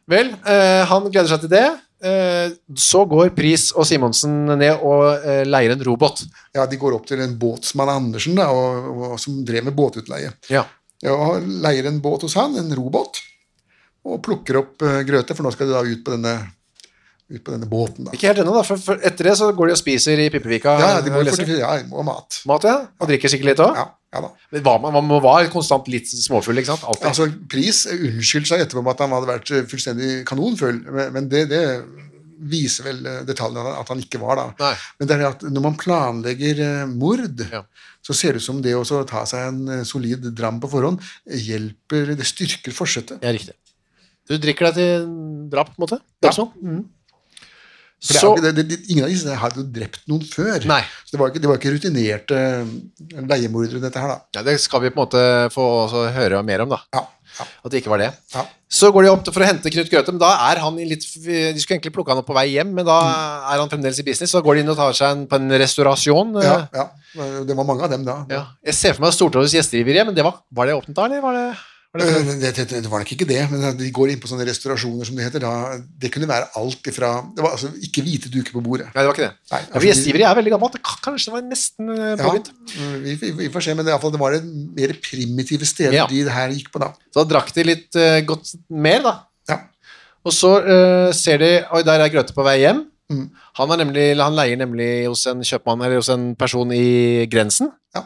Speaker 2: Vel, eh, han gleder seg til det. Eh, så går Pris og Simonsen ned og eh, leier en robot.
Speaker 3: ja, De går opp til en båtsmann Andersen, da, og, og, som drev med båtutleie.
Speaker 2: Ja.
Speaker 3: Ja, og leier en båt hos han, en robåt, og plukker opp eh, Grøthe, for nå skal de da ut på denne, ut på denne båten. Da.
Speaker 2: Ikke helt ennå, da, for, for etter det så går de og spiser i Pippevika.
Speaker 3: Ja, ja, de
Speaker 2: og
Speaker 3: går
Speaker 2: leser.
Speaker 3: for, ja, og mat.
Speaker 2: Mat, ja. Og drikker sikkert litt òg.
Speaker 3: Ja, ja da.
Speaker 2: Var, man- man var konstant litt småfull, ikke sant? Alltid.
Speaker 3: Altså, Pris unnskyldte seg etterpå med at han hadde vært eh, fullstendig kanonfull, men- men det, det viser vel eh, detaljene at han ikke var da.
Speaker 2: Nei.
Speaker 3: Men det er det at når man planlegger eh, mord,
Speaker 2: Ja.
Speaker 3: så ser det ut som det også å ta seg en eh, solid dram på forhånd eh, hjelper, det styrker forsettet.
Speaker 2: Ja, riktig. Du drikker deg til drap, på en måte? Drapsmann?
Speaker 3: For det er
Speaker 2: Mm. Så
Speaker 3: jo ikke, det, det, ingen av disse hadde jo drept noen før.
Speaker 2: Nei.
Speaker 3: Så det var ikke, det var ikke rutinerte eh, leiemordere, dette her, da.
Speaker 2: ja, Det skal vi på en måte få også høre mer om, da.
Speaker 3: Ja, ja,
Speaker 2: At det ikke var det.
Speaker 3: ja.
Speaker 2: Så går de opp til- for å hente Knut Grøthe, men da er han i litt De skulle egentlig plukke han opp på vei hjem, men da er han fremdeles i business. Så går de inn og tar seg en, på en restaurasjon. eh,
Speaker 3: ja, ja. Det var mange av dem da.
Speaker 2: ja. Jeg ser for meg Stortingets gjestegiverie, men det var, var det åpent da, eller var det, var det
Speaker 3: Eh, Det, det, det var nok ikke det, men de går inn på sånne restaurasjoner som det heter. Da. Det kunne være alt ifra Det var altså ikke hvite duker på bordet.
Speaker 2: Nei, det var ikke det.
Speaker 3: Nei,
Speaker 2: ja, for
Speaker 3: altså,
Speaker 2: Gjestegiverie er veldig gammelt. Det kan- Kanskje det var nesten eh,
Speaker 3: Ja,
Speaker 2: påbegynt.
Speaker 3: vi, vi, vi får se, men det, er i hvert fall- det var det mer primitive steder
Speaker 2: Ja.
Speaker 3: de her gikk på da.
Speaker 2: Så da drakk de litt eh, godt mer, da.
Speaker 3: Ja.
Speaker 2: Og så eh, ser de Oi, der er Grøthe på vei hjem.
Speaker 3: Mm.
Speaker 2: Han, er nemlig, eller han leier nemlig hos en kjøpmann eller hos en person i grensen.
Speaker 3: Ja.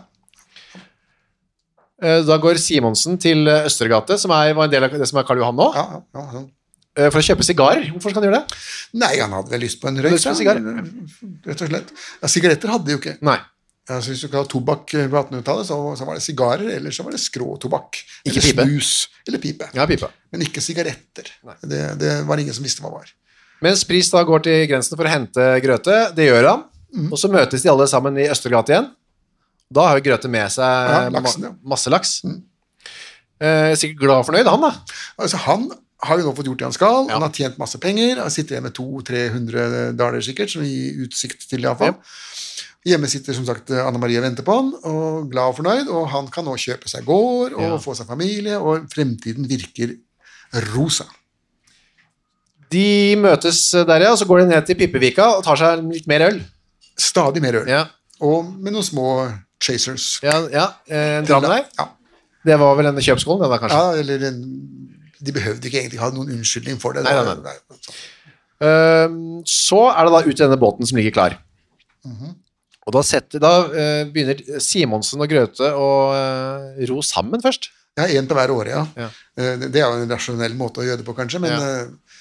Speaker 2: Eh, da går Simonsen til eh, Østergate, som er, var en del av det som er Karl Johan nå,
Speaker 3: Ja, ja, ja, sånn.
Speaker 2: eh, for å kjøpe sigarer. Hvorfor skal han gjøre det?
Speaker 3: Nei, han hadde vel lyst på en røyk.
Speaker 2: Lyst på
Speaker 3: da,
Speaker 2: sigar.
Speaker 3: Rett og slett. Ja, sigaretter hadde de jo ikke.
Speaker 2: Nei.
Speaker 3: Altså, hvis du skal ha tobakk eh, på 1800-tallet, så, så var det sigarer, eller så var det skråtobakk.
Speaker 2: Ikke
Speaker 3: eller
Speaker 2: pipe.
Speaker 3: snus. Eller pipe.
Speaker 2: Ja, pipa.
Speaker 3: Men ikke sigaretter.
Speaker 2: Nei.
Speaker 3: Det, det var ingen som visste hva var.
Speaker 2: Mens Pris da går til grensen for å hente Grøthe, det gjør han,
Speaker 3: Mm.
Speaker 2: og så møtes de alle sammen i Østergate igjen. Da har jo Grøthe med seg
Speaker 3: Ja, laksen, ja. Mm.
Speaker 2: ma masse laks. Eh, sikkert glad og fornøyd, han da.
Speaker 3: Altså, han har jo nå fått gjort det han skal,
Speaker 2: Ja.
Speaker 3: han har tjent masse penger, han sitter igjen med 200-300 daler sikkert, som gir utsikt til iallfall. Hjemme sitter som sagt Anne Marie og venter på han, og glad og fornøyd, og han kan nå kjøpe seg gård og
Speaker 2: Ja.
Speaker 3: få seg familie, og fremtiden virker rosa.
Speaker 2: De møtes eh, der, ja, og så går de ned til Pippevika og tar seg litt mer øl.
Speaker 3: Stadig mer øl,
Speaker 2: Ja,
Speaker 3: og med noen små chasers.
Speaker 2: ja, ja. eh, En dram med deg.
Speaker 3: Ja.
Speaker 2: Det var vel denne kjøpskålen, det da, kanskje.
Speaker 3: Ja, eller en, de behøvde ikke egentlig ha noen unnskyldning for det.
Speaker 2: Nei, nei, nei. Ehm, så er det da ut i denne båten som ligger klar. Mhm. Og da, setter, da eh, begynner Simonsen og Grøthe å eh, ro sammen først.
Speaker 3: Ja, én på hver åre, ja.
Speaker 2: Ja.
Speaker 3: Eh, Det det er jo en rasjonell måte å gjøre det på, kanskje, men
Speaker 2: Ja.
Speaker 3: eh,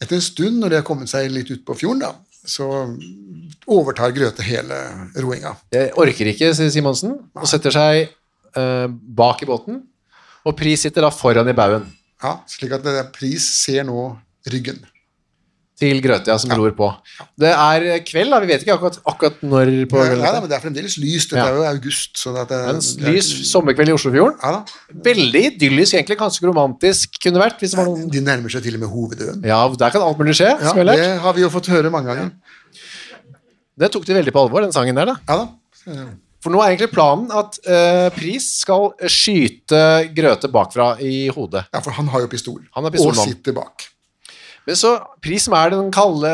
Speaker 3: etter en stund, når de har kommet seg litt ut på fjorden, da, så overtar Grøthe hele roinga.
Speaker 2: Jeg orker ikke, sier Simonsen, og setter seg eh, bak i båten. Og Pris sitter da foran i baugen.
Speaker 3: Ja, slik at det der Pris ser nå ryggen.
Speaker 2: til Grøtia som gror på. Det er kveld, da. Vi vet ikke akkurat, akkurat når på
Speaker 3: Nei,
Speaker 2: kvelden.
Speaker 3: nei, men det er fremdeles lyst. Dette
Speaker 2: Ja.
Speaker 3: er jo august. Så eh, det er,
Speaker 2: En lys sommerkveld i Oslofjorden.
Speaker 3: Ja da.
Speaker 2: Veldig idyllisk, egentlig. Ganske romantisk kunne vært. hvis det var noen...
Speaker 3: De nærmer seg til og med hovedøen.
Speaker 2: Ja, der kan alt mulig skje.
Speaker 3: Ja,
Speaker 2: som jeg har lært.
Speaker 3: det har vi jo fått høre mange ganger.
Speaker 2: Det tok de veldig på alvor, den sangen der, da.
Speaker 3: Ja da.
Speaker 2: For nå er egentlig planen at eh, Pris skal skyte Grøte bakfra i hodet.
Speaker 3: Ja, for han har jo pistol.
Speaker 2: Han har pistol,
Speaker 3: og
Speaker 2: mann.
Speaker 3: sitter bak.
Speaker 2: Men så Pris, som er den kalde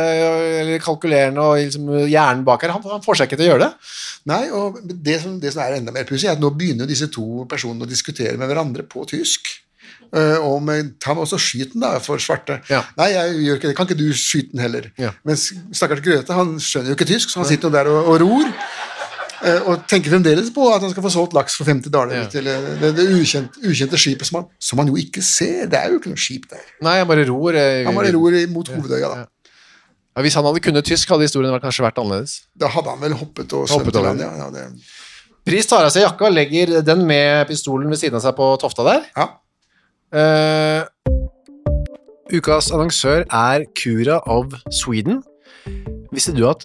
Speaker 2: eller kalkulerende og liksom hjernen bak her, han, han får seg ikke til å gjøre det.
Speaker 3: Nei, og det som, det som er enda mer pussig, er at nå begynner jo disse to personene å diskutere med hverandre på tysk. Eh, om eh, ta med også skyten, da, for svarte.
Speaker 2: Ja.
Speaker 3: Nei, jeg gjør ikke det. Kan ikke du skyte den heller?
Speaker 2: Ja.
Speaker 3: Mens stakkars Grøthe, han skjønner jo ikke tysk, så han sitter jo der og, og ror. eh, og tenker fremdeles på at han skal få solgt laks for 50 dollar
Speaker 2: Ja.
Speaker 3: til eh, det, det ukjente, ukjente skipet som han, som han jo ikke ser. Det er jo ikke noe skip der.
Speaker 2: Nei, jeg bare ror. eh,
Speaker 3: Han bare ror mot hovedøya, da.
Speaker 2: Ja, hvis han hadde kunnet tysk, hadde historien vært- kanskje vært annerledes.
Speaker 3: Da hadde han vel hoppet og
Speaker 2: Hoppet
Speaker 3: svømt i
Speaker 2: over.
Speaker 3: land. Ja, ja, det,
Speaker 2: Pris tar av seg jakka og legger den med pistolen ved siden av seg på tofta der.
Speaker 3: ja.
Speaker 2: Eh, ukas annonsør er Cura of Sweden. Visste du at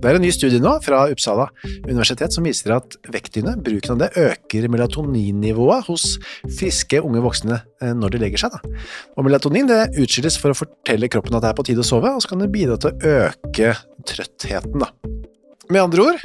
Speaker 2: Det er en ny studie nå fra Uppsala universitet som viser at vektdyne, bruken av det, øker melatoninnivået hos friske unge voksne eh, når de legger seg. Da. Og melatonin det utskilles for å fortelle kroppen at det er på tide å sove, og så kan det bidra til å øke trøttheten. Da. Med andre ord,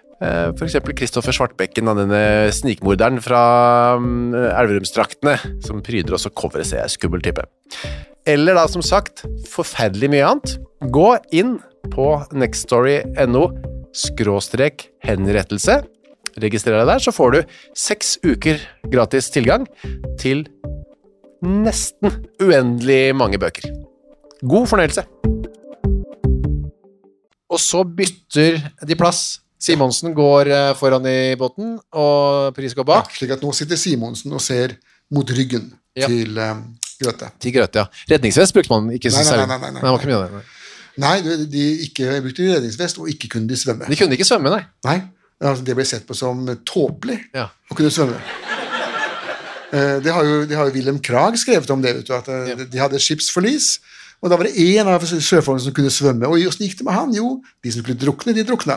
Speaker 2: Eh, For eksempel Kristoffer Svartbekken, da, denne snikmorderen fra mm, Elverumsdraktene, som pryder også coveret, ser jeg. Skummel type. Eller da, som sagt, forferdelig mye annet. Gå inn på nextstory.no skråstrek henrettelse. Registrer deg der, så får du seks uker gratis tilgang til nesten uendelig mange bøker. God fornøyelse. Og så bytter de plass. Simonsen går eh, foran i båten, og Pris går bak.
Speaker 3: Slik at nå sitter Simonsen og ser mot ryggen
Speaker 2: Ja.
Speaker 3: til eh, Grøthe.
Speaker 2: Til Grøtia. Redningsvest brukte man ikke så
Speaker 3: Nei, nei,
Speaker 2: særlig.
Speaker 3: nei, nei, nei.
Speaker 2: det var ikke mye av det.
Speaker 3: Nei, de, de ikke brukte redningsvest, og ikke kunne de svømme.
Speaker 2: De kunne ikke svømme, nei.
Speaker 3: Nei, altså, Det ble sett på som tåpelig
Speaker 2: Ja.
Speaker 3: å kunne svømme. Eh, Det har, jo, det har jo Wilhelm Krag skrevet om det, vet du, at eh, de hadde skipsforlis. Og da var det én av sjøfolkene som kunne svømme. Og åssen gikk det med han? Jo, de som skulle drukne, de drukna.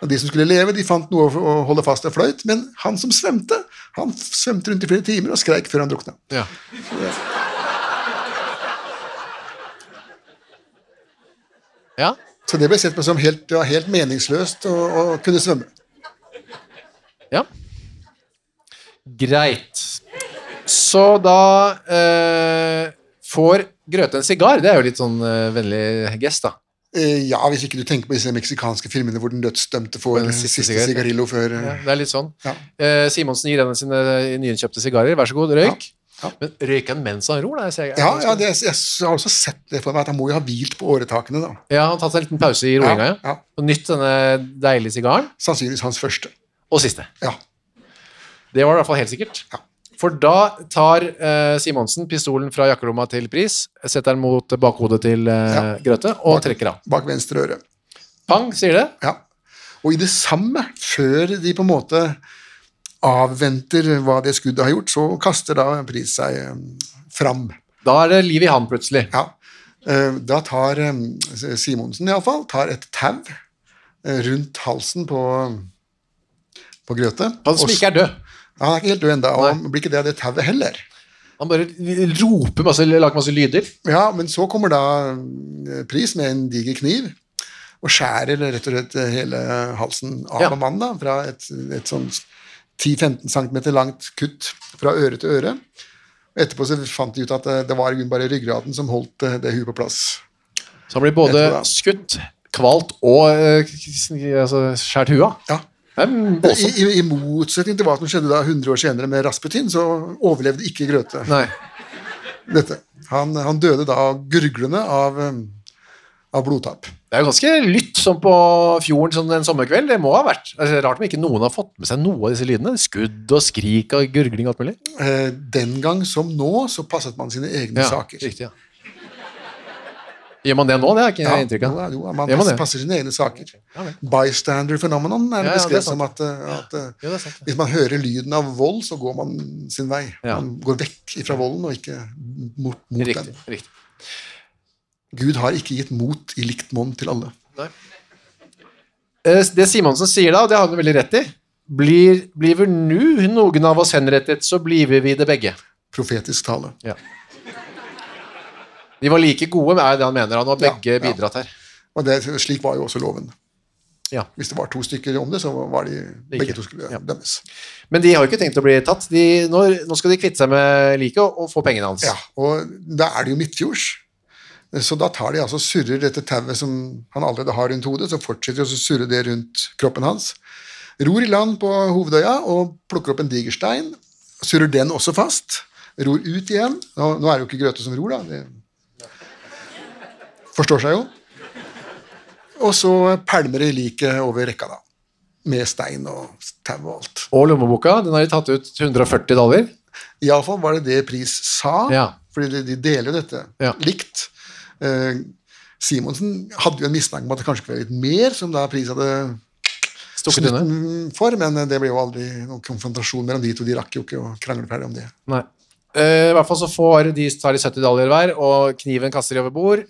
Speaker 3: Og de som skulle leve, de fant noe å å holde fast og fløyt. Men han som svømte, han svømte rundt i flere timer og skreik før han drukna.
Speaker 2: Ja. ja.
Speaker 3: Så det ble sett på som helt, det var helt meningsløst å, å kunne svømme.
Speaker 2: Ja. Greit. Så da eh, får Grøte en sigar, det er jo litt sånn eh, vennlig gest, da.
Speaker 3: Eh, ja, hvis ikke du tenker på disse meksikanske filmene hvor den dødsdømte får
Speaker 2: Den
Speaker 3: eh,
Speaker 2: siste
Speaker 3: siste
Speaker 2: sigaretten.
Speaker 3: sigarillo før eh,
Speaker 2: Ja, det er litt sånn.
Speaker 3: Ja.
Speaker 2: Eh, Simonsen gir henne sine nyinnkjøpte sigarer. Vær så god, røyk.
Speaker 3: Ja, ja.
Speaker 2: Men røyker han mens han ror? Da? Jeg ser,
Speaker 3: Ja, ja det, jeg har også sett det for meg, at han må jo ha hvilt på åretakene, da.
Speaker 2: Ja, han har tatt seg en liten pause i roinga, ja.
Speaker 3: Ja, ja.
Speaker 2: Og nytt denne deilige sigaren.
Speaker 3: Sannsynligvis hans første.
Speaker 2: Og siste.
Speaker 3: Ja.
Speaker 2: Det var det i hvert fall helt sikkert.
Speaker 3: Ja.
Speaker 2: For da tar eh, Simonsen pistolen fra jakkelomma til Pris, setter den mot bakhodet til eh,
Speaker 3: Ja.
Speaker 2: Grøthe og trekker av.
Speaker 3: Bak venstre øre.
Speaker 2: Pang, sier det.
Speaker 3: Ja. Og i det samme, før de på en måte avventer hva det skuddet har gjort, så kaster da Pris seg eh, fram.
Speaker 2: Da er det liv i han plutselig.
Speaker 3: Ja. Eh, Da tar eh, Simonsen iallfall tar et tau eh, rundt halsen på, på Grøthe.
Speaker 2: Han som
Speaker 3: Og-
Speaker 2: ikke er død.
Speaker 3: Ja, Han er ikke helt død ennå, og han blir ikke det av det tauet heller.
Speaker 2: Han bare roper masse, lager masse lyder.
Speaker 3: Ja, men så kommer da eh, Pris med en diger kniv og skjærer rett og slett eh, hele halsen av
Speaker 2: Ja.
Speaker 3: på mannen, da, fra et, et sånn 10-15 cm langt kutt fra øre til øre. Etterpå så fant de ut at eh, det var i grunnen bare ryggraden som holdt eh, det huet på plass.
Speaker 2: Så han blir både
Speaker 3: Jeg tror det.
Speaker 2: skutt, kvalt og eh, k- altså, skjært huet av.
Speaker 3: Ja.
Speaker 2: Det er en
Speaker 3: I,
Speaker 2: voldsomt.
Speaker 3: i, I motsetning til hva som skjedde da 100 år senere med Rasputin, så overlevde ikke Grøthe
Speaker 2: Nei.
Speaker 3: dette. Han, han døde da gurglende av, eh, av blodtap.
Speaker 2: Det er jo ganske lytt som på fjorden sånn en sommerkveld. Det må ha vært. Altså, det er rart om ikke noen har fått med seg noe av disse lydene. Skudd og skrik og gurgling og alt mulig.
Speaker 3: Eh, Den gang som nå, så passet man sine egne saker.
Speaker 2: Riktig, ja. *laughs* Gjør man det nå? Det har ikke jeg
Speaker 3: Ja,
Speaker 2: inntrykk av.
Speaker 3: jo, jo, man
Speaker 2: Gjør man
Speaker 3: passer,
Speaker 2: det?
Speaker 3: sine egne saker.
Speaker 2: Ja vel.
Speaker 3: Bystander phenomenon
Speaker 2: Ja, ja,
Speaker 3: er det
Speaker 2: det er
Speaker 3: beskrevet
Speaker 2: sant.
Speaker 3: som at, eh, at eh,
Speaker 2: Jo, det er sant, det.
Speaker 3: hvis man hører lyden av vold, så går man sin vei.
Speaker 2: Ja.
Speaker 3: Man går vekk fra volden og ikke mot, mot
Speaker 2: Riktig.
Speaker 3: den.
Speaker 2: riktig.
Speaker 3: Gud har ikke gitt mot i likt monn til alle.
Speaker 2: Eh, Det Simonsen sier da, og det har han jo veldig rett i, blir, bliver nu noen av oss henrettet, så bliver vi det begge.
Speaker 3: Profetisk tale.
Speaker 2: Ja. De var like gode, er det han mener. Han har begge
Speaker 3: Ja, ja.
Speaker 2: bidratt her.
Speaker 3: Og det, slik var jo også loven.
Speaker 2: Ja.
Speaker 3: Hvis det var to stykker om det, så var de begge to skulle
Speaker 2: ja.
Speaker 3: dømmes.
Speaker 2: Men de har jo ikke tenkt å bli tatt. De, nå, nå skal de kvitte seg med liket og, og få pengene hans.
Speaker 3: Ja, og da er det jo midtfjords. Så da tar de altså og surrer dette tauet som han allerede har rundt hodet, så fortsetter de å surre det rundt kroppen hans. Ror i land på hovedøya og plukker opp en diger stein. Surrer den også fast. Ror ut igjen. Nå, nå er det jo ikke Grøthe som ror, da. Det forstår seg jo. Og så pælmer de liket over rekka, da. Med stein og tau og alt.
Speaker 2: Og lommeboka. Den har de tatt ut 140 dollar.
Speaker 3: Iallfall var det det Pris sa,
Speaker 2: Ja.
Speaker 3: fordi de, de deler jo dette
Speaker 2: Ja.
Speaker 3: likt. Eh, Simonsen hadde jo en mistanke om at det kanskje kunne være litt mer, som da Pris hadde
Speaker 2: Stukket unna.
Speaker 3: snutten for, men eh, det ble jo aldri noen konfrontasjon mellom de to. De rakk jo ikke å krangle ferdig om det.
Speaker 2: Nei. Eh, I hvert fall så får de, tar de 70 dollar hver, og kniven kaster de over bord.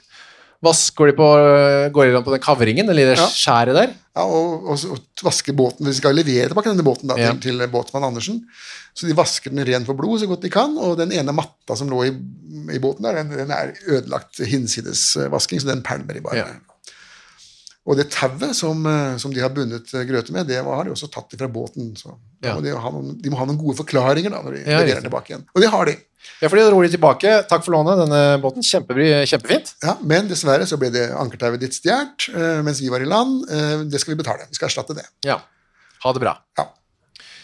Speaker 2: Vasker de på, eh, går de rundt på den kavringen, eller det
Speaker 3: Ja.
Speaker 2: skjæret der.
Speaker 3: Ja, og, og, og vaske båten, De skal levere tilbake denne båten da,
Speaker 2: Ja.
Speaker 3: til, til båtmann Andersen. Så de vasker den ren for blod så godt de kan, og den ene matta som lå i, i båten der, den, den er ødelagt hinsidesvasking, så den pælmer de bare.
Speaker 2: Ja.
Speaker 3: Og det tauet som, eh, som de har bundet eh, Grøthe med, det har de også tatt fra båten. Så da
Speaker 2: Ja.
Speaker 3: må de, ha noen, de må ha noen gode forklaringer da, når de
Speaker 2: Ja,
Speaker 3: leverer
Speaker 2: riktig.
Speaker 3: den tilbake igjen. Og det har de.
Speaker 2: Ja, for de ror de tilbake. Takk for lånet, denne båten. Kjempebry- kjempefint.
Speaker 3: Ja, men dessverre så ble det ankertauet ditt stjålet eh, mens vi var i land. Eh, det skal vi betale. Vi skal erstatte det.
Speaker 2: Ja. Ha det bra.
Speaker 3: Ja.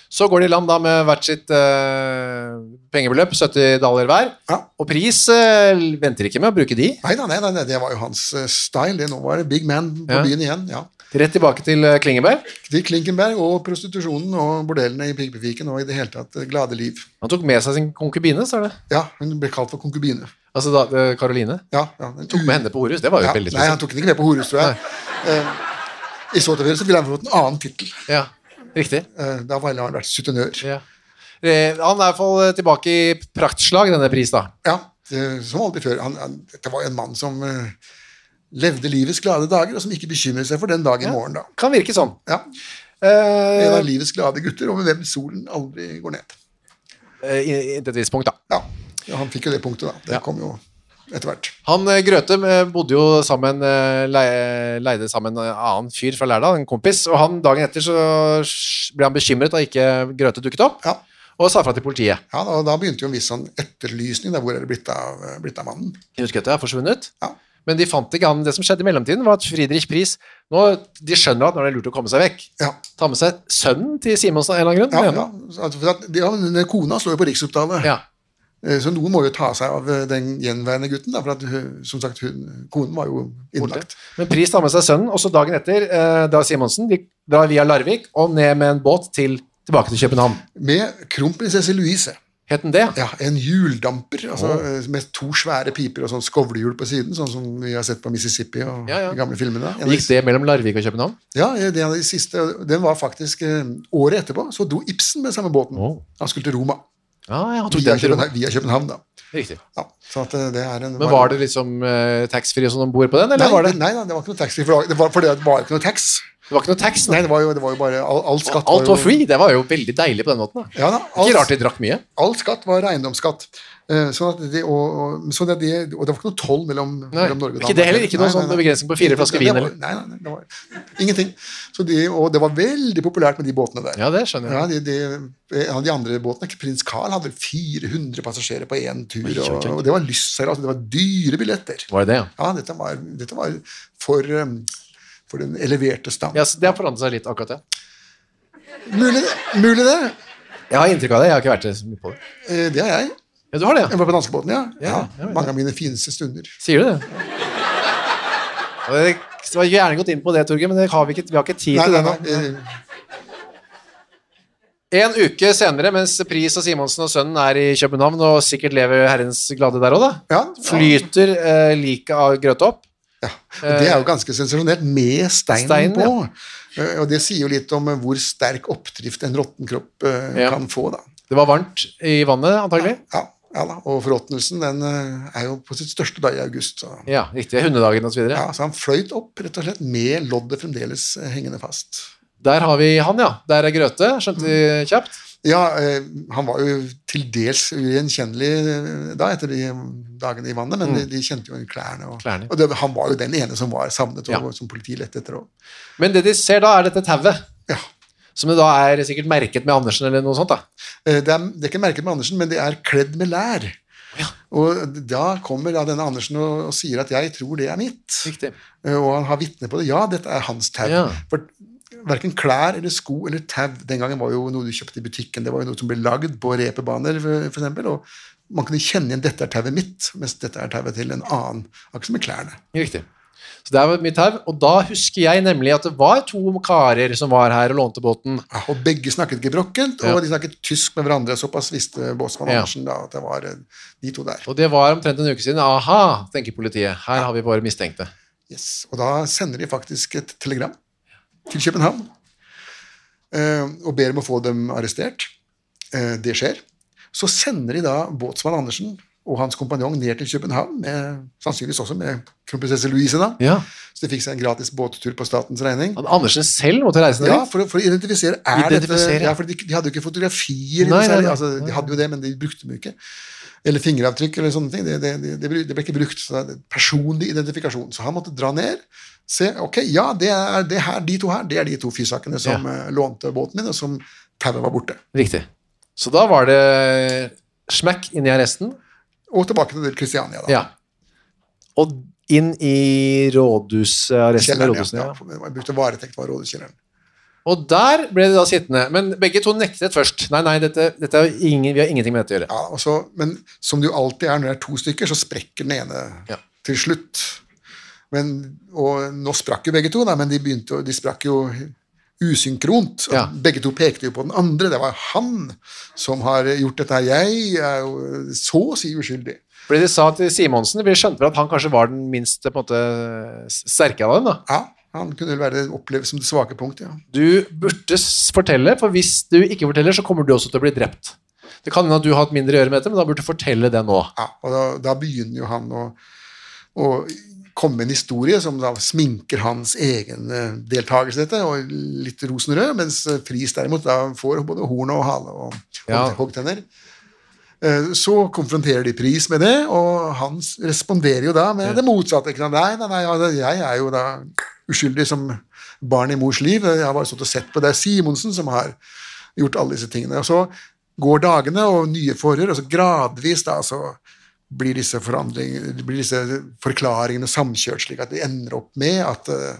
Speaker 2: Så går de i land da med hvert sitt eh, pengebeløp, 70 dollar hver.
Speaker 3: Ja.
Speaker 2: Og pris eh, venter ikke med å bruke de.
Speaker 3: Nei da, nei, nei, nei, det var jo hans eh, style. det Nå var det big man på
Speaker 2: Ja.
Speaker 3: byen igjen. ja.
Speaker 2: Rett tilbake til eh, Klingeberg.
Speaker 3: Til Klinkenberg og prostitusjonen og bordellene i Pigbefiken og i det hele tatt eh, glade liv.
Speaker 2: Han tok med seg sin konkubine, sa det.
Speaker 3: Ja, hun ble kalt for konkubine.
Speaker 2: Altså da, eh, Caroline.
Speaker 3: Ja, ja. en
Speaker 2: Tok med henne på horehus. Det var jo
Speaker 3: Ja,
Speaker 2: veldig
Speaker 3: nei, han
Speaker 2: spesielt.
Speaker 3: tok henne ikke med på Horus, tror jeg. Eh, I så tilfelle så ville han fått en annen tittel.
Speaker 2: Ja, riktig.
Speaker 3: Eh, da ville han vært sutenør.
Speaker 2: Ja. Eh, han er i hvert fall eh, tilbake i praktslag, denne pris, da.
Speaker 3: Ja, eh, som aldri før. Han, han, dette var jo en mann som eh, levde livets glade dager, og som ikke bekymret seg for den dag i morgen, da.
Speaker 2: Kan virke sånn.
Speaker 3: Ja, En
Speaker 2: Eh,
Speaker 3: av livets glade gutter, og med hvem solen aldri går ned.
Speaker 2: eh, i- Inntil et visst punkt, da.
Speaker 3: Ja, ja, han fikk jo det punktet, da. Det
Speaker 2: Ja.
Speaker 3: kom jo etter hvert.
Speaker 2: Han eh, Grøthe eh, bodde jo sammen eh, leie- leide sammen en annen fyr fra Lærdal, en kompis, og han dagen etter så ble han bekymret da ikke Grøthe dukket opp.
Speaker 3: Ja.
Speaker 2: og sa fra til politiet.
Speaker 3: Ja, da, da begynte jo en viss sånn etterlysning. Da, hvor er det blitt av, blitt av mannen?
Speaker 2: Knutgøtte er forsvunnet.
Speaker 3: Ja.
Speaker 2: Men de fant ikke han. Det som skjedde i mellomtiden, var at Friedrich Pris nå, De skjønner at nå er det lurt å komme seg vekk.
Speaker 3: Ja.
Speaker 2: Ta med seg sønnen til Simonsen av en eller annen
Speaker 3: Ja,
Speaker 2: grunn.
Speaker 3: ja. Altså, for at, ja, men den Kona står jo på Riksopptalet,
Speaker 2: Ja.
Speaker 3: Eh, så noen må jo ta seg av eh, den gjenværende gutten. Da, for at, hun- som sagt, hun, konen var jo
Speaker 2: Borte.
Speaker 3: innlagt.
Speaker 2: Men Pris tar med seg sønnen, og så dagen etter eh, da Simonsen de drar via Larvik og ned med en båt til, tilbake til København.
Speaker 3: Med kronprinsesse Louise.
Speaker 2: Het den det?
Speaker 3: Ja, En hjuldamper altså, eh, med to svære piper og sånn skovlehjul på siden, sånn som vi har sett på Mississippi og
Speaker 2: Ja, ja.
Speaker 3: de gamle filmene. En av de-
Speaker 2: Gikk det mellom Larvik og København?
Speaker 3: Ja, eh, det er en av de siste, den var faktisk eh, Året etterpå så dro Ibsen med samme båten.
Speaker 2: Å.
Speaker 3: Han skulle til Roma.
Speaker 2: Ja, ja, han tok
Speaker 3: Via
Speaker 2: den til
Speaker 3: København, via København da.
Speaker 2: Riktig.
Speaker 3: Ja, så at eh, det er en,
Speaker 2: Men var det liksom eh, taxfree og sånn om bord på den, eller
Speaker 3: Nei,
Speaker 2: var det
Speaker 3: nei, nei, det var ikke noe taxi. For det var, for det var ikke noe tax.
Speaker 2: Det var ikke noe tax?
Speaker 3: Nei, det var jo, det var jo bare all, all skatt
Speaker 2: Alt
Speaker 3: jo-
Speaker 2: var free. Det var jo veldig deilig på den måten. da.
Speaker 3: Ja, da,
Speaker 2: Ikke
Speaker 3: alt-
Speaker 2: rart de drakk mye.
Speaker 3: All skatt var eiendomsskatt. Eh, Sånn at de, og, og, sånn at de, og det var ikke noe toll mellom,
Speaker 2: Nei,
Speaker 3: mellom Norge og
Speaker 2: ikke det heller, ikke noe sånn begrensning på fire flasker vin,
Speaker 3: Det var-
Speaker 2: eller?
Speaker 3: Nei, nei, nei, det var ingenting. Så de, og det var veldig populært med de båtene der.
Speaker 2: Ja, det skjønner jeg.
Speaker 3: Ja, de, de, en av de andre båtene, prins Carl, hadde vel 400 passasjerer på én tur.
Speaker 2: Oi, oi, oi.
Speaker 3: Og, og det var lystseilas, altså, det var dyre billetter.
Speaker 2: Var det det, ja?
Speaker 3: Ja, dette var, dette var for, eh, for den eleverte stand.
Speaker 2: Ja, så Det har forandret seg litt, akkurat det.
Speaker 3: Mulig, det- mulig det!
Speaker 2: Jeg har inntrykk av det. Jeg har ikke vært så mye på det.
Speaker 3: Eh, Det har jeg.
Speaker 2: Ja, du har det,
Speaker 3: Jeg
Speaker 2: ja.
Speaker 3: var på danskebåten, ja. ja,
Speaker 2: Ja, ja, ja.
Speaker 3: mange av mine fineste stunder.
Speaker 2: Sier du det? Ja, det- Jeg skulle gjerne gått inn på det, Torgeir, men det har vi, ikke, vi har ikke tid
Speaker 3: Nei,
Speaker 2: til
Speaker 3: nei,
Speaker 2: det nå.
Speaker 3: nei, eh,
Speaker 2: En uke senere, mens Pris og Simonsen og sønnen er i København og sikkert lever herrens glade der òg, da,
Speaker 3: Ja.
Speaker 2: flyter eh, liket av Grøthe opp.
Speaker 3: Ja, og Det er jo ganske sensasjonelt, med steinen
Speaker 2: Stein,
Speaker 3: på. Eh, Og det sier jo litt om eh, hvor sterk oppdrift en råtten kropp eh,
Speaker 2: Ja.
Speaker 3: kan få, da.
Speaker 2: Det var varmt i vannet, antagelig.
Speaker 3: Ja, ja da. Og forråtnelsen den eh, er jo på sitt største da i august. Så.
Speaker 2: Ja, riktig. Hundedagen og så videre.
Speaker 3: Ja, så han fløyt opp rett og slett med loddet fremdeles eh, hengende fast.
Speaker 2: Der har vi han, ja. Der er Grøthe, skjønte vi
Speaker 3: Mm.
Speaker 2: kjapt.
Speaker 3: Ja, eh, han var jo til dels ugjenkjennelig eh, da etter de dagene i vannet, men de, de kjente jo klærne. Og,
Speaker 2: Mm. Klærne.
Speaker 3: og det, han var jo den ene som var savnet, og
Speaker 2: Ja.
Speaker 3: som politiet lette etter. Og,
Speaker 2: Men det de ser da, er dette tauet.
Speaker 3: ja.
Speaker 2: Som det da er sikkert merket med Andersen eller noe sånt. da.
Speaker 3: Eh, Det er, det er ikke merket med Andersen, men det er kledd med lær. Og da kommer da denne Andersen og, og sier at 'jeg tror det er mitt'.
Speaker 2: Riktig.
Speaker 3: Eh, Og han har vitne på det. Ja, dette er hans tau.
Speaker 2: Ja.
Speaker 3: For verken klær eller sko eller tau den gangen var jo noe du kjøpte i butikken. Det var jo noe som ble lagd på reperbaner, for, for eksempel. Og man kunne kjenne igjen 'dette er tauet mitt', mens 'dette er tauet til en annen'. Akkurat som med klærne.
Speaker 2: Riktig. Så der var mye tau. Og da husker jeg nemlig at det var to karer som var her og lånte båten.
Speaker 3: Ja, Og begge snakket gebrokkent, og de snakket tysk med hverandre. Såpass visste Båtsmann
Speaker 2: Ja.
Speaker 3: Andersen da at det var eh, de to der.
Speaker 2: Og det var omtrent en uke siden. Aha, tenker politiet. Her har vi våre mistenkte.
Speaker 3: Yes. Og da sender de faktisk et telegram til København eh, og ber om å få dem arrestert. Eh, Det skjer. Så sender de da båtsmann Andersen og hans kompanjong ned til København, med, sannsynligvis også med kronprinsesse Louise, da.
Speaker 2: Ja.
Speaker 3: så de fikk seg en gratis båttur på statens regning.
Speaker 2: At Andersen selv måtte reise ned?
Speaker 3: Ja,
Speaker 2: dit?
Speaker 3: for, å- for å identifisere er
Speaker 2: Identifisere,
Speaker 3: dette
Speaker 2: ja.
Speaker 3: ja, for de, de hadde jo ikke fotografier. i
Speaker 2: Nei,
Speaker 3: det
Speaker 2: nei,
Speaker 3: særlig.
Speaker 2: nei.
Speaker 3: Altså, de hadde jo det, men de brukte dem jo ikke. Eller fingeravtrykk eller sånne ting. Det, det, det, det ble- det ble ikke brukt. Så det er personlig identifikasjon. Så han måtte dra ned. Se, ok, ja, det er det her, de to her, det er de to fyssakene som eh, lånte båten min, og som tauet var borte.
Speaker 2: Riktig. Så da var det smekk inn i arresten.
Speaker 3: Og tilbake til Kristiania, da.
Speaker 2: Ja. Og inn i rådhusarresten.
Speaker 3: Kjelleren,
Speaker 2: rådhusen,
Speaker 3: ja.
Speaker 2: ja.
Speaker 3: ja. Jeg brukte varetekt var rådhuskjelleren.
Speaker 2: Og der ble de da sittende. Men begge to nektet først. Nei, nei, dette, dette er jo ingen, vi har ingenting med dette å gjøre.
Speaker 3: Ja, og så- men som det jo alltid er når det er to stykker, så sprekker den ene
Speaker 2: Ja.
Speaker 3: til slutt. Men, og nå sprakk jo begge to, da, men de, begynte, jo- de sprakk jo usynkront.
Speaker 2: Ja.
Speaker 3: Begge to pekte jo på den andre. Det var han som har gjort dette her. Jeg er jo så å si uskyldig.
Speaker 2: Fordi de sa til Simonsen, vi skjønte vel at han kanskje var den minst på en måte, s- sterke av dem. da.
Speaker 3: Ja, han kunne vel være opplevd som det svake punktet, ja.
Speaker 2: Du burde s- fortelle, for hvis du ikke forteller, så kommer du også til å bli drept. Det kan hende at du har hatt mindre å gjøre med dette, men da burde du fortelle det nå.
Speaker 3: ja og da, da begynner jo han å, å komme med en historie som da sminker hans egen eh, deltakelse i dette, og litt rosenrød, mens eh, Friis derimot da får både horn og hale og
Speaker 2: Ja.
Speaker 3: hogg- hoggtenner. Eh, Så konfronterer de Pris med det, og han s- responderer jo da med det motsatte. Ikke sant? Nei, nei, nei, ja, det- jeg er jo da uskyldig som barn i mors liv. Jeg har bare stått og sett på. Det er Simonsen som har gjort alle disse tingene. Og så går dagene, og nye forhør. Og så gradvis da, så blir disse, forhandling- blir disse forklaringene samkjørt, slik at de ender opp med at eh,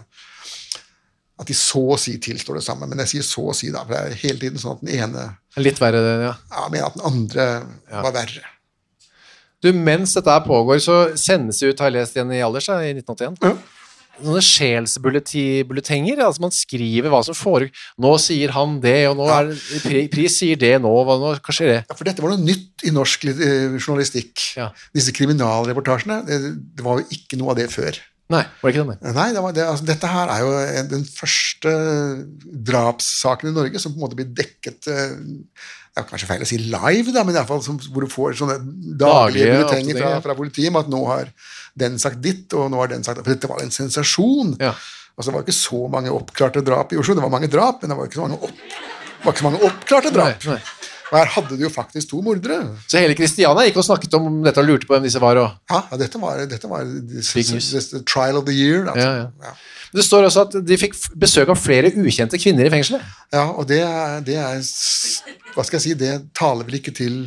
Speaker 3: at de så å si tilstår det samme. Men jeg sier så å si, da, for det er hele tiden sånn at den ene
Speaker 2: Litt verre, det, ja.
Speaker 3: ja, mener at den andre var verre.
Speaker 2: Du, mens dette her pågår, så sendes det ut, har jeg lest igjen i Alders, da, i 1981,
Speaker 3: Ja.
Speaker 2: sånne sjelsbulletenger, altså man skriver hva som foregår. Nå sier han det, og nå er det- pri, pris sier det nå, hva nå, hva skjer det?
Speaker 3: Ja, For dette var noe nytt i norsk lit- eh, journalistikk.
Speaker 2: Ja.
Speaker 3: Disse kriminalreportasjene, det, det var jo ikke noe av det før.
Speaker 2: Nei, var det ikke det? nei?
Speaker 3: Nei, det var, det, altså, Dette her er jo en- den første drapssaken i Norge som på en måte blir dekket eh, Det er jo kanskje feil å si live, da, men i alle fall som, hvor du får sånne daglige
Speaker 2: Daglige
Speaker 3: bulletenger fra,
Speaker 2: oppdateringer.
Speaker 3: fra politiet om at nå har den sagt ditt, og nå har den sagt For dette var en sensasjon.
Speaker 2: Ja.
Speaker 3: Altså, det var ikke så mange oppklarte drap i Oslo. Det var mange drap, men det var ikke så mange, opp, det var ikke så mange oppklarte drap.
Speaker 2: Nei, nei.
Speaker 3: Og her hadde du jo faktisk to mordere.
Speaker 2: Så hele Kristiania gikk og snakket om dette og lurte på hvem disse var. Og.
Speaker 3: Ja, ja dette var, dette var this,
Speaker 2: Big news.
Speaker 3: this- the trial of the year. Altså.
Speaker 2: Ja, ja.
Speaker 3: Ja.
Speaker 2: Det står også at de fikk f- besøk av flere ukjente kvinner i fengselet.
Speaker 3: Ja, og det er, det er s- Hva skal jeg si, det taler vel ikke til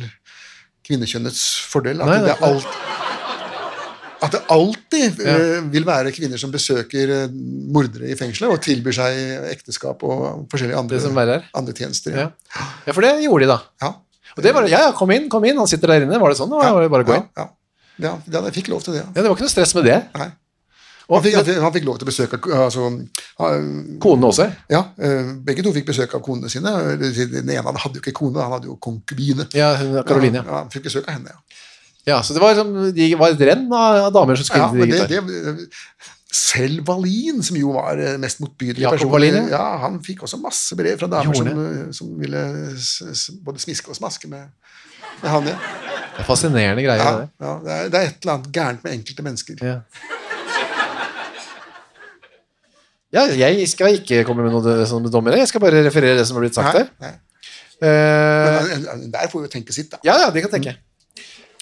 Speaker 3: kvinnekjønnets fordel. At,
Speaker 2: Nei, nei,
Speaker 3: det, er
Speaker 2: nei.
Speaker 3: alt, at det alltid eh, vil være kvinner som besøker eh, mordere i fengselet og tilbyr seg ekteskap og forskjellige
Speaker 2: Det som
Speaker 3: andre,
Speaker 2: verre er.
Speaker 3: andre tjenester.
Speaker 2: Ja. ja, for det gjorde de da.
Speaker 3: Ja.
Speaker 2: Og det var, ja, ja, kom inn, kom inn, han sitter der inne. Var det sånn?
Speaker 3: Ja,
Speaker 2: Eller var det bare å gå inn?
Speaker 3: Ja, ja. ja, jeg fikk lov til det. Ja.
Speaker 2: Ja, det var ikke noe stress med det.
Speaker 3: Nei.
Speaker 2: Og
Speaker 3: Han fikk, han fikk- han fikk lov til å besøke altså, ha-
Speaker 2: konene også.
Speaker 3: ja, eh, Begge to fikk besøk av konene sine. Den ene han hadde jo ikke kone, han hadde jo konkubine.
Speaker 2: Ja, hun- Caroline. ja.
Speaker 3: Ja, han fikk besøk av henne, ja.
Speaker 2: Ja, så det var, liksom, de var et renn av av damer som skulle
Speaker 3: Ja,
Speaker 2: ja,
Speaker 3: men
Speaker 2: gitar.
Speaker 3: det, det, selv Wallin, som jo var eh, mest motbydelig
Speaker 2: Jakob
Speaker 3: person,
Speaker 2: Wallin, ja.
Speaker 3: ja, han fikk også masse brev fra damer
Speaker 2: Gjorde
Speaker 3: som, eh, som ville s- s- både smiske og smaske med, med han. Ja.
Speaker 2: Det er fascinerende greier.
Speaker 3: Ja,
Speaker 2: det der.
Speaker 3: ja, det, er, det er et eller annet gærent med enkelte mennesker.
Speaker 2: Ja. Ja, jeg skal ikke komme med noen sånne dommer. Jeg skal bare referere det som har blitt sagt
Speaker 3: Nei,
Speaker 2: her.
Speaker 3: nei.
Speaker 2: Eh,
Speaker 3: Men, eh, der får vi jo tenke sitt, da.
Speaker 2: ja, ja, det kan jeg tenke.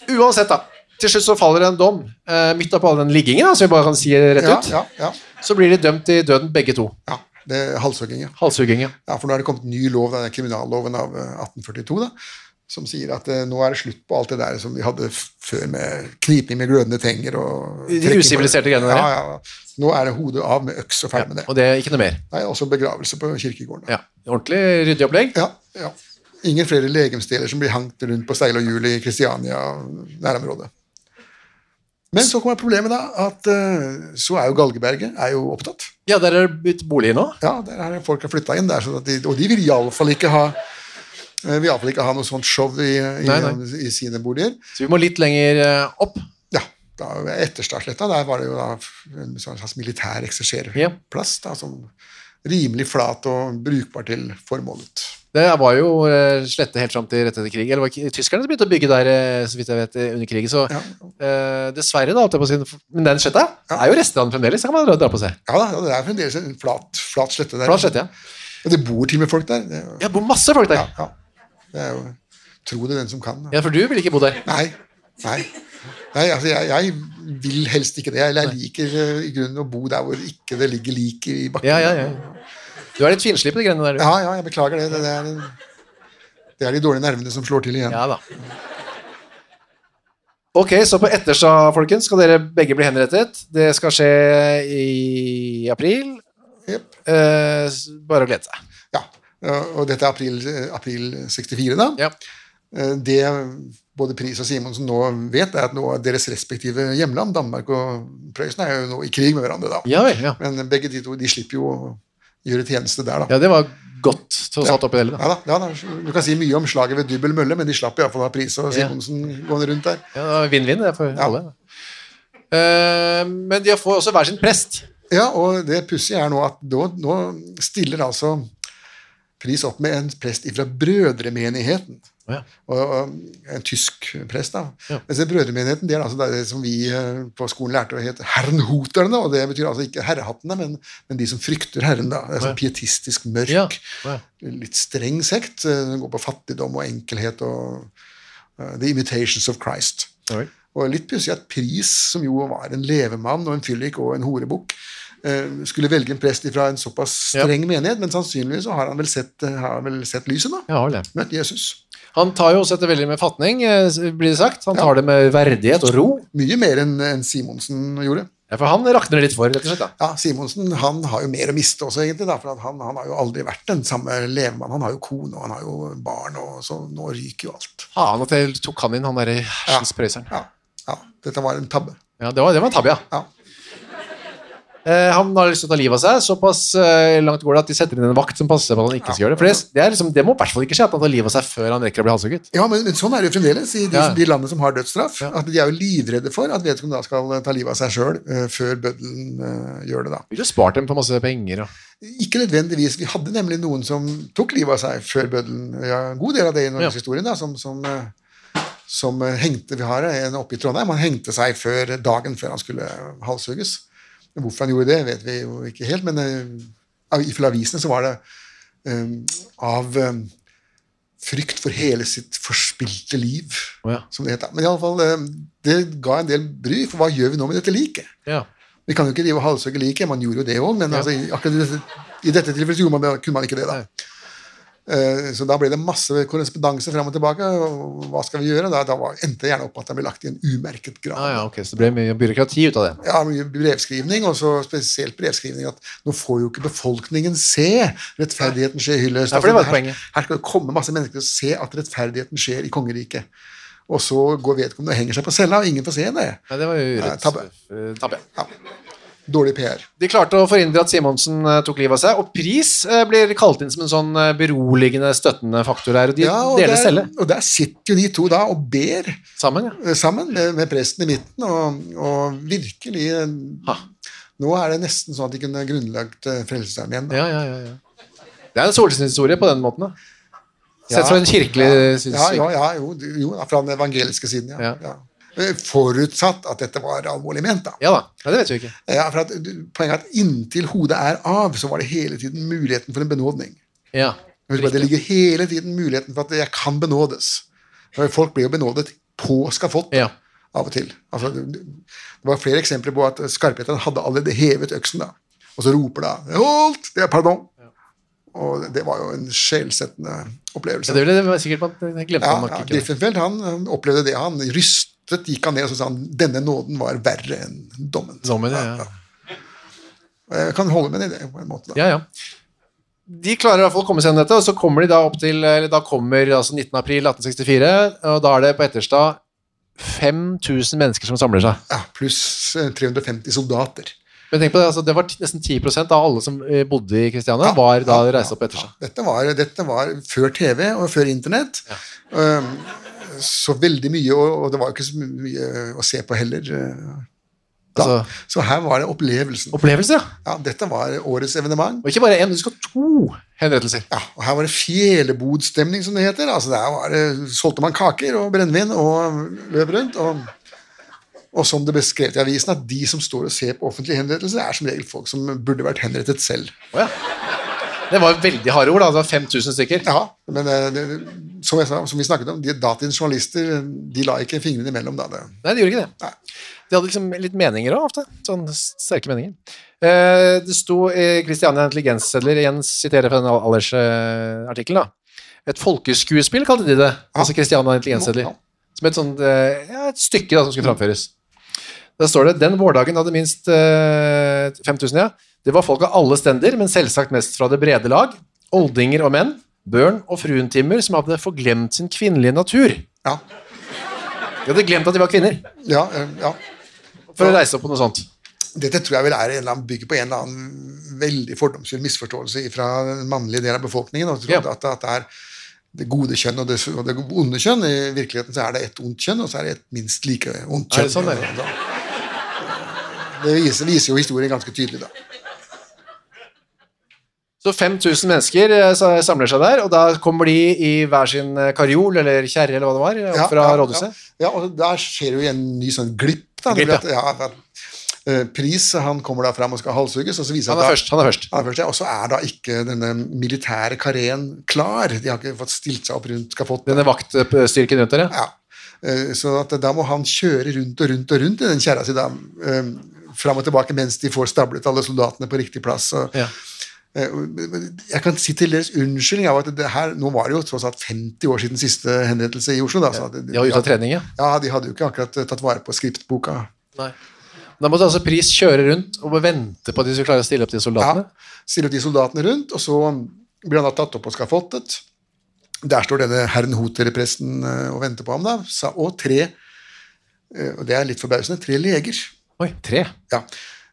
Speaker 2: Uansett, da. Til slutt så faller det en dom. Eh, midt oppå all den liggingen, da, som vi bare kan si rett
Speaker 3: Ja,
Speaker 2: ut,
Speaker 3: ja, ja,
Speaker 2: så blir de dømt til døden begge to.
Speaker 3: ja. Det er halshugging, ja.
Speaker 2: Halshugging, ja.
Speaker 3: ja. For nå er det kommet ny lov, denne kriminalloven av eh, 1842, da, som sier at eh, nå er det slutt på alt det der som vi hadde f- før med kniping med glødende tenger og
Speaker 2: De
Speaker 3: trekking på-
Speaker 2: usiviliserte greiene der,
Speaker 3: Ja,
Speaker 2: ja.
Speaker 3: ja, ja. Nå er det hodet av med øks og ferdig med det.
Speaker 2: Og det er ikke noe mer.
Speaker 3: Nei, også begravelse på kirkegården. da.
Speaker 2: Ja. Ordentlig ryddig opplegg.
Speaker 3: Ja, ja. Ingen flere legemsdeler som blir hangt rundt på seil og hjul i Kristiania nærområdet. Men så kommer problemet, da, at eh, så er jo Galgeberget er jo opptatt.
Speaker 2: Ja, der er det blitt bolig nå.
Speaker 3: Ja, der har folk har flytta inn der, sånn at de, og de vil iallfall ikke ha eh, vil i alle fall ikke ha noe sånt show i, i,
Speaker 2: Nei, nei.
Speaker 3: i sine boliger.
Speaker 2: Så vi må litt lenger eh, opp.
Speaker 3: Ja, da Etterstadsletta, der var det jo da en sånn slags militær
Speaker 2: Ja.
Speaker 3: ekserserplass, da, som rimelig flat og brukbar til formålet.
Speaker 2: Det var jo eh, slette helt fram til rett etter krig. Eller var ikke tyskerne som begynte å bygge der eh, så vidt jeg vet, eh, under krigen? Så
Speaker 3: Ja.
Speaker 2: eh, dessverre, da, holdt jeg på å si. Men den sletta er jo restene fremdeles. Den kan man dra, dra på seg.
Speaker 3: Ja da, det er fremdeles en flat, flat slette der.
Speaker 2: Flat slette, ja.
Speaker 3: Og det bor til og med folk der. Det, er jo-
Speaker 2: Ja, det bor masse folk
Speaker 3: ja,
Speaker 2: der.
Speaker 3: ja. det er jo Tro det, den som kan. da.
Speaker 2: Ja, for du ville ikke bo der.
Speaker 3: Nei. Nei. Nei, altså jeg, jeg vil helst ikke det. Eller jeg liker eh, i grunnen å bo der hvor ikke det ligger lik i bakken.
Speaker 2: Ja, ja, ja. Du er litt finslig på de greiene der, du.
Speaker 3: ja, ja, jeg beklager det. Det, det, er, en- det er de dårlige nervene som slår til igjen.
Speaker 2: Ja da. Ok, så på Etterstad, folkens, skal dere begge bli henrettet. Det skal skje i april.
Speaker 3: Jep.
Speaker 2: Eh, s- bare å glede seg.
Speaker 3: Ja. Eh, Og dette er april, eh, april 64, da.
Speaker 2: Ja.
Speaker 3: Eh, Det både Pris og Simonsen nå vet, er at nå er deres respektive hjemland, Danmark og Prøysen, er jo nå i krig med hverandre, da.
Speaker 2: Ja vel, ja.
Speaker 3: Men begge de to de slipper jo å gjøre tjeneste der, da.
Speaker 2: Ja, det var godt til å satt opp i det hele, da.
Speaker 3: Ja da, ja da. Du kan si mye om slaget ved Dybbel mølle, men de slapp iallfall av Pris og
Speaker 2: Ja.
Speaker 3: Simonsen gående rundt der.
Speaker 2: Ja, det var Vinn-vinn det er for alle. Eh, men de får også hver sin prest.
Speaker 3: Ja, og det pussige er nå at nå, nå stiller altså Pris opp med en prest fra Brødremenigheten.
Speaker 2: Ja.
Speaker 3: Og, og en tysk prest, da.
Speaker 2: Ja.
Speaker 3: Mens det Brødremenigheten det er altså det som vi eh, på skolen lærte å hete herrenhoterne. Og det betyr altså ikke herrehattene, men, men de som frykter Herren. da. Det er sånn pietistisk mørk,
Speaker 2: Ja, ja.
Speaker 3: litt streng sekt. eh, Den går på fattigdom og enkelhet og eh, The Imitations of Christ. Og litt pussig at Pris, som jo var en levemann og en fyllik og en horebukk, eh, skulle velge en prest fra en såpass
Speaker 2: Ja.
Speaker 3: streng menighet, men sannsynligvis så har han vel sett, eh, har han vel sett lyset, da.
Speaker 2: Ja, vel, det.
Speaker 3: Møtt Jesus.
Speaker 2: Han tar jo også dette veldig med fatning, eh, blir det sagt. Han tar det med verdighet og ro.
Speaker 3: Mye mer enn enn Simonsen gjorde.
Speaker 2: Ja, for han rakner litt for, rett og slett. da.
Speaker 3: Ja, Simonsen han har jo mer å miste også, egentlig. Da, for at han, han har jo aldri vært den samme levemann. Han har jo kone og han har jo barn, og så nå ryker jo alt.
Speaker 2: Faen at jeg tok han inn, han derre hersens prøyseren.
Speaker 3: Ja, ja, Dette var en tabbe.
Speaker 2: Ja, det var, det var en tabbe, ja.
Speaker 3: Ja.
Speaker 2: Eh, han har lyst til å ta livet av seg. Såpass eh, langt går det at de setter inn en vakt som passer på at han ikke skal gjøre det. For det, det, er liksom, det må i hvert fall ikke skje at han tar livet av seg før han rekker å bli halshugget.
Speaker 3: Ja, men, men sånn er det jo fremdeles i de,
Speaker 2: Ja.
Speaker 3: de landene som har dødsstraff. At De er jo livredde for at vedkommende da skal eh, ta livet av seg sjøl før bøddelen eh, gjør det. da.
Speaker 2: Ville jo spart dem for masse penger. Og.
Speaker 3: Ikke nødvendigvis. Vi hadde nemlig noen som tok livet av seg før bøddelen. Ja, en god del av det i norgeshistorien, da, som, som, eh, som eh, hengte Vi har en oppe i Trondheim. Han hengte seg før dagen før han skulle halshugges. Hvorfor han gjorde det, vet vi jo ikke helt, men eh, av- ifølge avisene så var det eh, av eh, frykt for hele sitt forspilte liv,
Speaker 2: Å ja.
Speaker 3: som det het. da. Men i alle fall, eh, det ga en del bry, for hva gjør vi nå med dette liket?
Speaker 2: Ja.
Speaker 3: Vi kan jo ikke drive og halshugge liket. Man gjorde jo det òg, men altså, i- akkurat i dette, i dette tilfellet så gjorde man det, kunne man ikke det. da. Eh, Så da ble det masse korrespondanse fram og tilbake. og Hva skal vi gjøre? Da, da var, endte det gjerne opp at han ble lagt i en umerket grav.
Speaker 2: Ah, ja, ok, Så det ble mye byråkrati ut av det.
Speaker 3: Ja, mye brevskrivning, og så spesielt brevskrivning at nå får jo ikke befolkningen se rettferdigheten skje i hyllest.
Speaker 2: Nei, for det var
Speaker 3: Altså, her,
Speaker 2: poenget.
Speaker 3: her skal det komme masse mennesker og se at rettferdigheten skjer i kongeriket. Og så går vedkommende og henger seg på cella, og ingen får se det.
Speaker 2: Nei, det var jo
Speaker 3: Nei,
Speaker 2: urett.
Speaker 3: tabbe.
Speaker 2: Eh, tabbe.
Speaker 3: Dårlig PR.
Speaker 2: De klarte å forhindre at Simonsen eh, tok livet av seg, og pris eh, blir kalt inn som en sånn eh, beroligende, støttende faktor her. Og de
Speaker 3: Ja, og
Speaker 2: deler
Speaker 3: der-
Speaker 2: celle
Speaker 3: Og der sitter jo de to da og ber
Speaker 2: sammen. ja.
Speaker 3: eh, sammen med, med presten i midten, og, og virkelig eh,
Speaker 2: Ha.
Speaker 3: Nå er det nesten sånn at de kunne grunnlagt eh, Frelsesarmeen. igjen. da.
Speaker 2: Ja, ja, ja, ja. Det er en solskinnshistorie på den måten. da. Sett fra en kirkelig
Speaker 3: Ja,
Speaker 2: synsvinkel.
Speaker 3: ja, ja, jo, jo, da, fra den evangeliske siden, ja.
Speaker 2: Ja.
Speaker 3: ja. Eh, Forutsatt at dette var alvorlig ment, da.
Speaker 2: Ja da. Ja, det vet vi ikke.
Speaker 3: Ja, for at, du- poenget er at inntil hodet er av, så var det hele tiden muligheten for en benådning.
Speaker 2: Ja.
Speaker 3: Husk på at Det ligger hele tiden muligheten for at jeg kan benådes. For Folk blir jo benådet på skafott.
Speaker 2: Ja.
Speaker 3: av og til. Altså, det det var flere eksempler på at skarpheten hadde allerede hevet øksen, da. og så roper da 'Holdt! Det er pardon!' Og det var jo en sjelsettende opplevelse.
Speaker 2: Ja, det ville det sikkert man jeg glemte
Speaker 3: ja,
Speaker 2: man nok
Speaker 3: ja,
Speaker 2: ikke. da.
Speaker 3: Griffenfeld han han opplevde det. Han rystet, gikk han ned og så sa han, 'Denne nåden var verre enn dommen'.
Speaker 2: Dommen, ja, ja.
Speaker 3: Og Jeg kan holde med det i det, på en måte. Da.
Speaker 2: Ja, ja. De klarer i hvert fall å komme seg gjennom dette, og så kommer de da opp til eller da kommer altså 19. april 1864, og da er det på Etterstad 5000 mennesker som samler seg.
Speaker 3: Ja, pluss eh, 350 soldater.
Speaker 2: Men tenk på Det altså, det var ti- nesten 10 av alle som eh, bodde i Kristiania,
Speaker 3: Ja,
Speaker 2: var da
Speaker 3: ja,
Speaker 2: reist opp på
Speaker 3: ja.
Speaker 2: Etterstad.
Speaker 3: Dette var, dette var før TV og før internett. Um, så veldig mye, og, og det var jo ikke så mye å se på heller. uh, Da.
Speaker 2: Altså,
Speaker 3: så her var det opplevelsen.
Speaker 2: opplevelser, ja.
Speaker 3: Ja, dette var årets evenement.
Speaker 2: Og ikke bare én, du skal ha to henrettelser.
Speaker 3: Ja, og her var det fjellebodstemning, som det heter. Altså, der var det, solgte man kaker og brennevin og løp rundt. Og, og som det ble skrevet i avisen, at de som står og ser på offentlige henrettelser, er som regel folk som burde vært henrettet selv.
Speaker 2: Å, ja. Det var veldig harde ord, da. Det var 5000 stykker.
Speaker 3: Ja, men eh, det, som, jeg, sa- som vi snakket om, de datidens journalister de la ikke fingrene imellom. Da, det.
Speaker 2: Nei, de gjorde ikke det. De hadde liksom litt meninger òg, ofte. Sånn sterke meninger. Eh, det sto i Kristiania Intelligenssedler, igjen siterer fra den Allers-artikkelen, da. Et folkeskuespill kalte de det. Altså Kristiania Intelligenssedler.
Speaker 3: Ja.
Speaker 2: Som et sånt eh, ja, et stykke da, som skulle framføres. Der står det den vårdagen hadde minst eh, 5000, ja. Det var folk av alle stender, men selvsagt mest fra det brede lag. Oldinger og menn, børn og fruentimer som hadde forglemt sin kvinnelige natur.
Speaker 3: Ja,
Speaker 2: De hadde glemt at de var kvinner.
Speaker 3: ja, eh, ja.
Speaker 2: For å reise opp på noe sånt.
Speaker 3: Dette tror jeg vel er en eller annen bygger på en eller annen veldig fordomsfull misforståelse fra den mannlige delen av befolkningen. og trodde
Speaker 2: Ja.
Speaker 3: at, at det er det gode kjønn og det, og det onde kjønn. I virkeligheten så er det ett ondt kjønn, og så er det et minst like ondt
Speaker 2: Er
Speaker 3: kjønn.
Speaker 2: det sånn, er det?
Speaker 3: Det viser, viser jo historien ganske tydelig, da.
Speaker 2: Så 5000 mennesker eh, sa- samler seg der, og da kommer de i hver sin eh, karjol eller kjerre eller hva det var, eh, opp fra rådhuset.
Speaker 3: Ja, ja, og der skjer jo en ny sånn glipp. da.
Speaker 2: Glipp,
Speaker 3: nemlig at, ja, at, eh, pris, han kommer da fram og skal halshugges, og så viser
Speaker 2: Han
Speaker 3: at
Speaker 2: er
Speaker 3: da,
Speaker 2: først. han er først.
Speaker 3: Ja, først, ja. Og så er da ikke denne militære kareen klar. De har ikke fått stilt seg opp rundt skafottet.
Speaker 2: Denne vaktstyrken rundt der, ja.
Speaker 3: Ja. Eh, Så at da må han kjøre rundt og rundt og rundt i den kjerra si, da. eh, Fram og tilbake mens de får stablet alle soldatene på riktig plass. Og,
Speaker 2: Ja.
Speaker 3: Eh, men- men Jeg kan si til deres unnskyldning av at det her, nå var det jo tross alt 50 år siden siste henrettelse i Oslo. Da, så at-
Speaker 2: De var ute av trening, ja.
Speaker 3: Ja, de hadde jo ikke akkurat eh, tatt vare på skriptboka.
Speaker 2: Nei. Men Da måtte altså Pris kjøre rundt og vente på at de skulle klare å stille opp de
Speaker 3: Ja,
Speaker 2: soldatene.
Speaker 3: Stiller de soldatene rundt, og så blir han da tatt opp og skafottet. Der står denne herren Hoter-presten eh, og venter på ham, da. sa- Og tre, eh, og det er litt forbausende, tre leger.
Speaker 2: Oi, tre.
Speaker 3: Ja.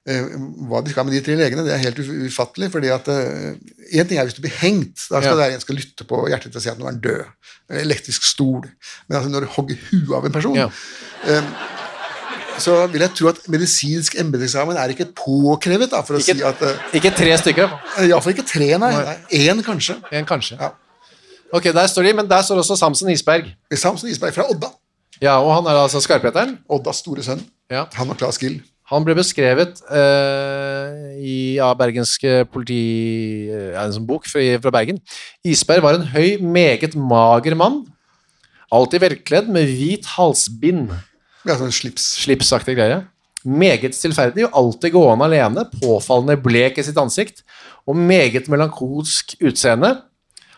Speaker 3: Eh, Hva de skal med de tre legene, det er helt uf- ufattelig. fordi at Én ting er hvis du blir hengt. Da
Speaker 2: Ja.
Speaker 3: skal det være en som skal lytte på hjertet til å si at nå er han død. En Elektrisk stol. Men altså, når du hogger huet av en person,
Speaker 2: Ja.
Speaker 3: eh, så vil jeg tro at medisinsk embeteksamen er ikke påkrevet. da, for å
Speaker 2: Ikke-
Speaker 3: si at eh,
Speaker 2: Ikke tre stykker. da.
Speaker 3: Iallfall ikke tre, nei. Én, kanskje.
Speaker 2: En kanskje.
Speaker 3: Ja.
Speaker 2: Ok, der står de, men der står også Samson Isberg.
Speaker 3: Samson Isberg fra Odda.
Speaker 2: Ja, og han er altså skarpheteren.
Speaker 3: Oddas store sønn.
Speaker 2: Ja.
Speaker 3: Han og Claes Gill.
Speaker 2: Han ble beskrevet eh, i ja, bergensk eh, politi... eh, Ja, en sånn bok fra, fra Bergen. Isberg var en høy, meget mager mann. Alltid velkledd med hvit halsbind.
Speaker 3: Ja, sånn slips.
Speaker 2: Slipsaktig greie. Meget stillferdig og alltid gående alene. Påfallende blek i sitt ansikt. Og meget melankolsk utseende.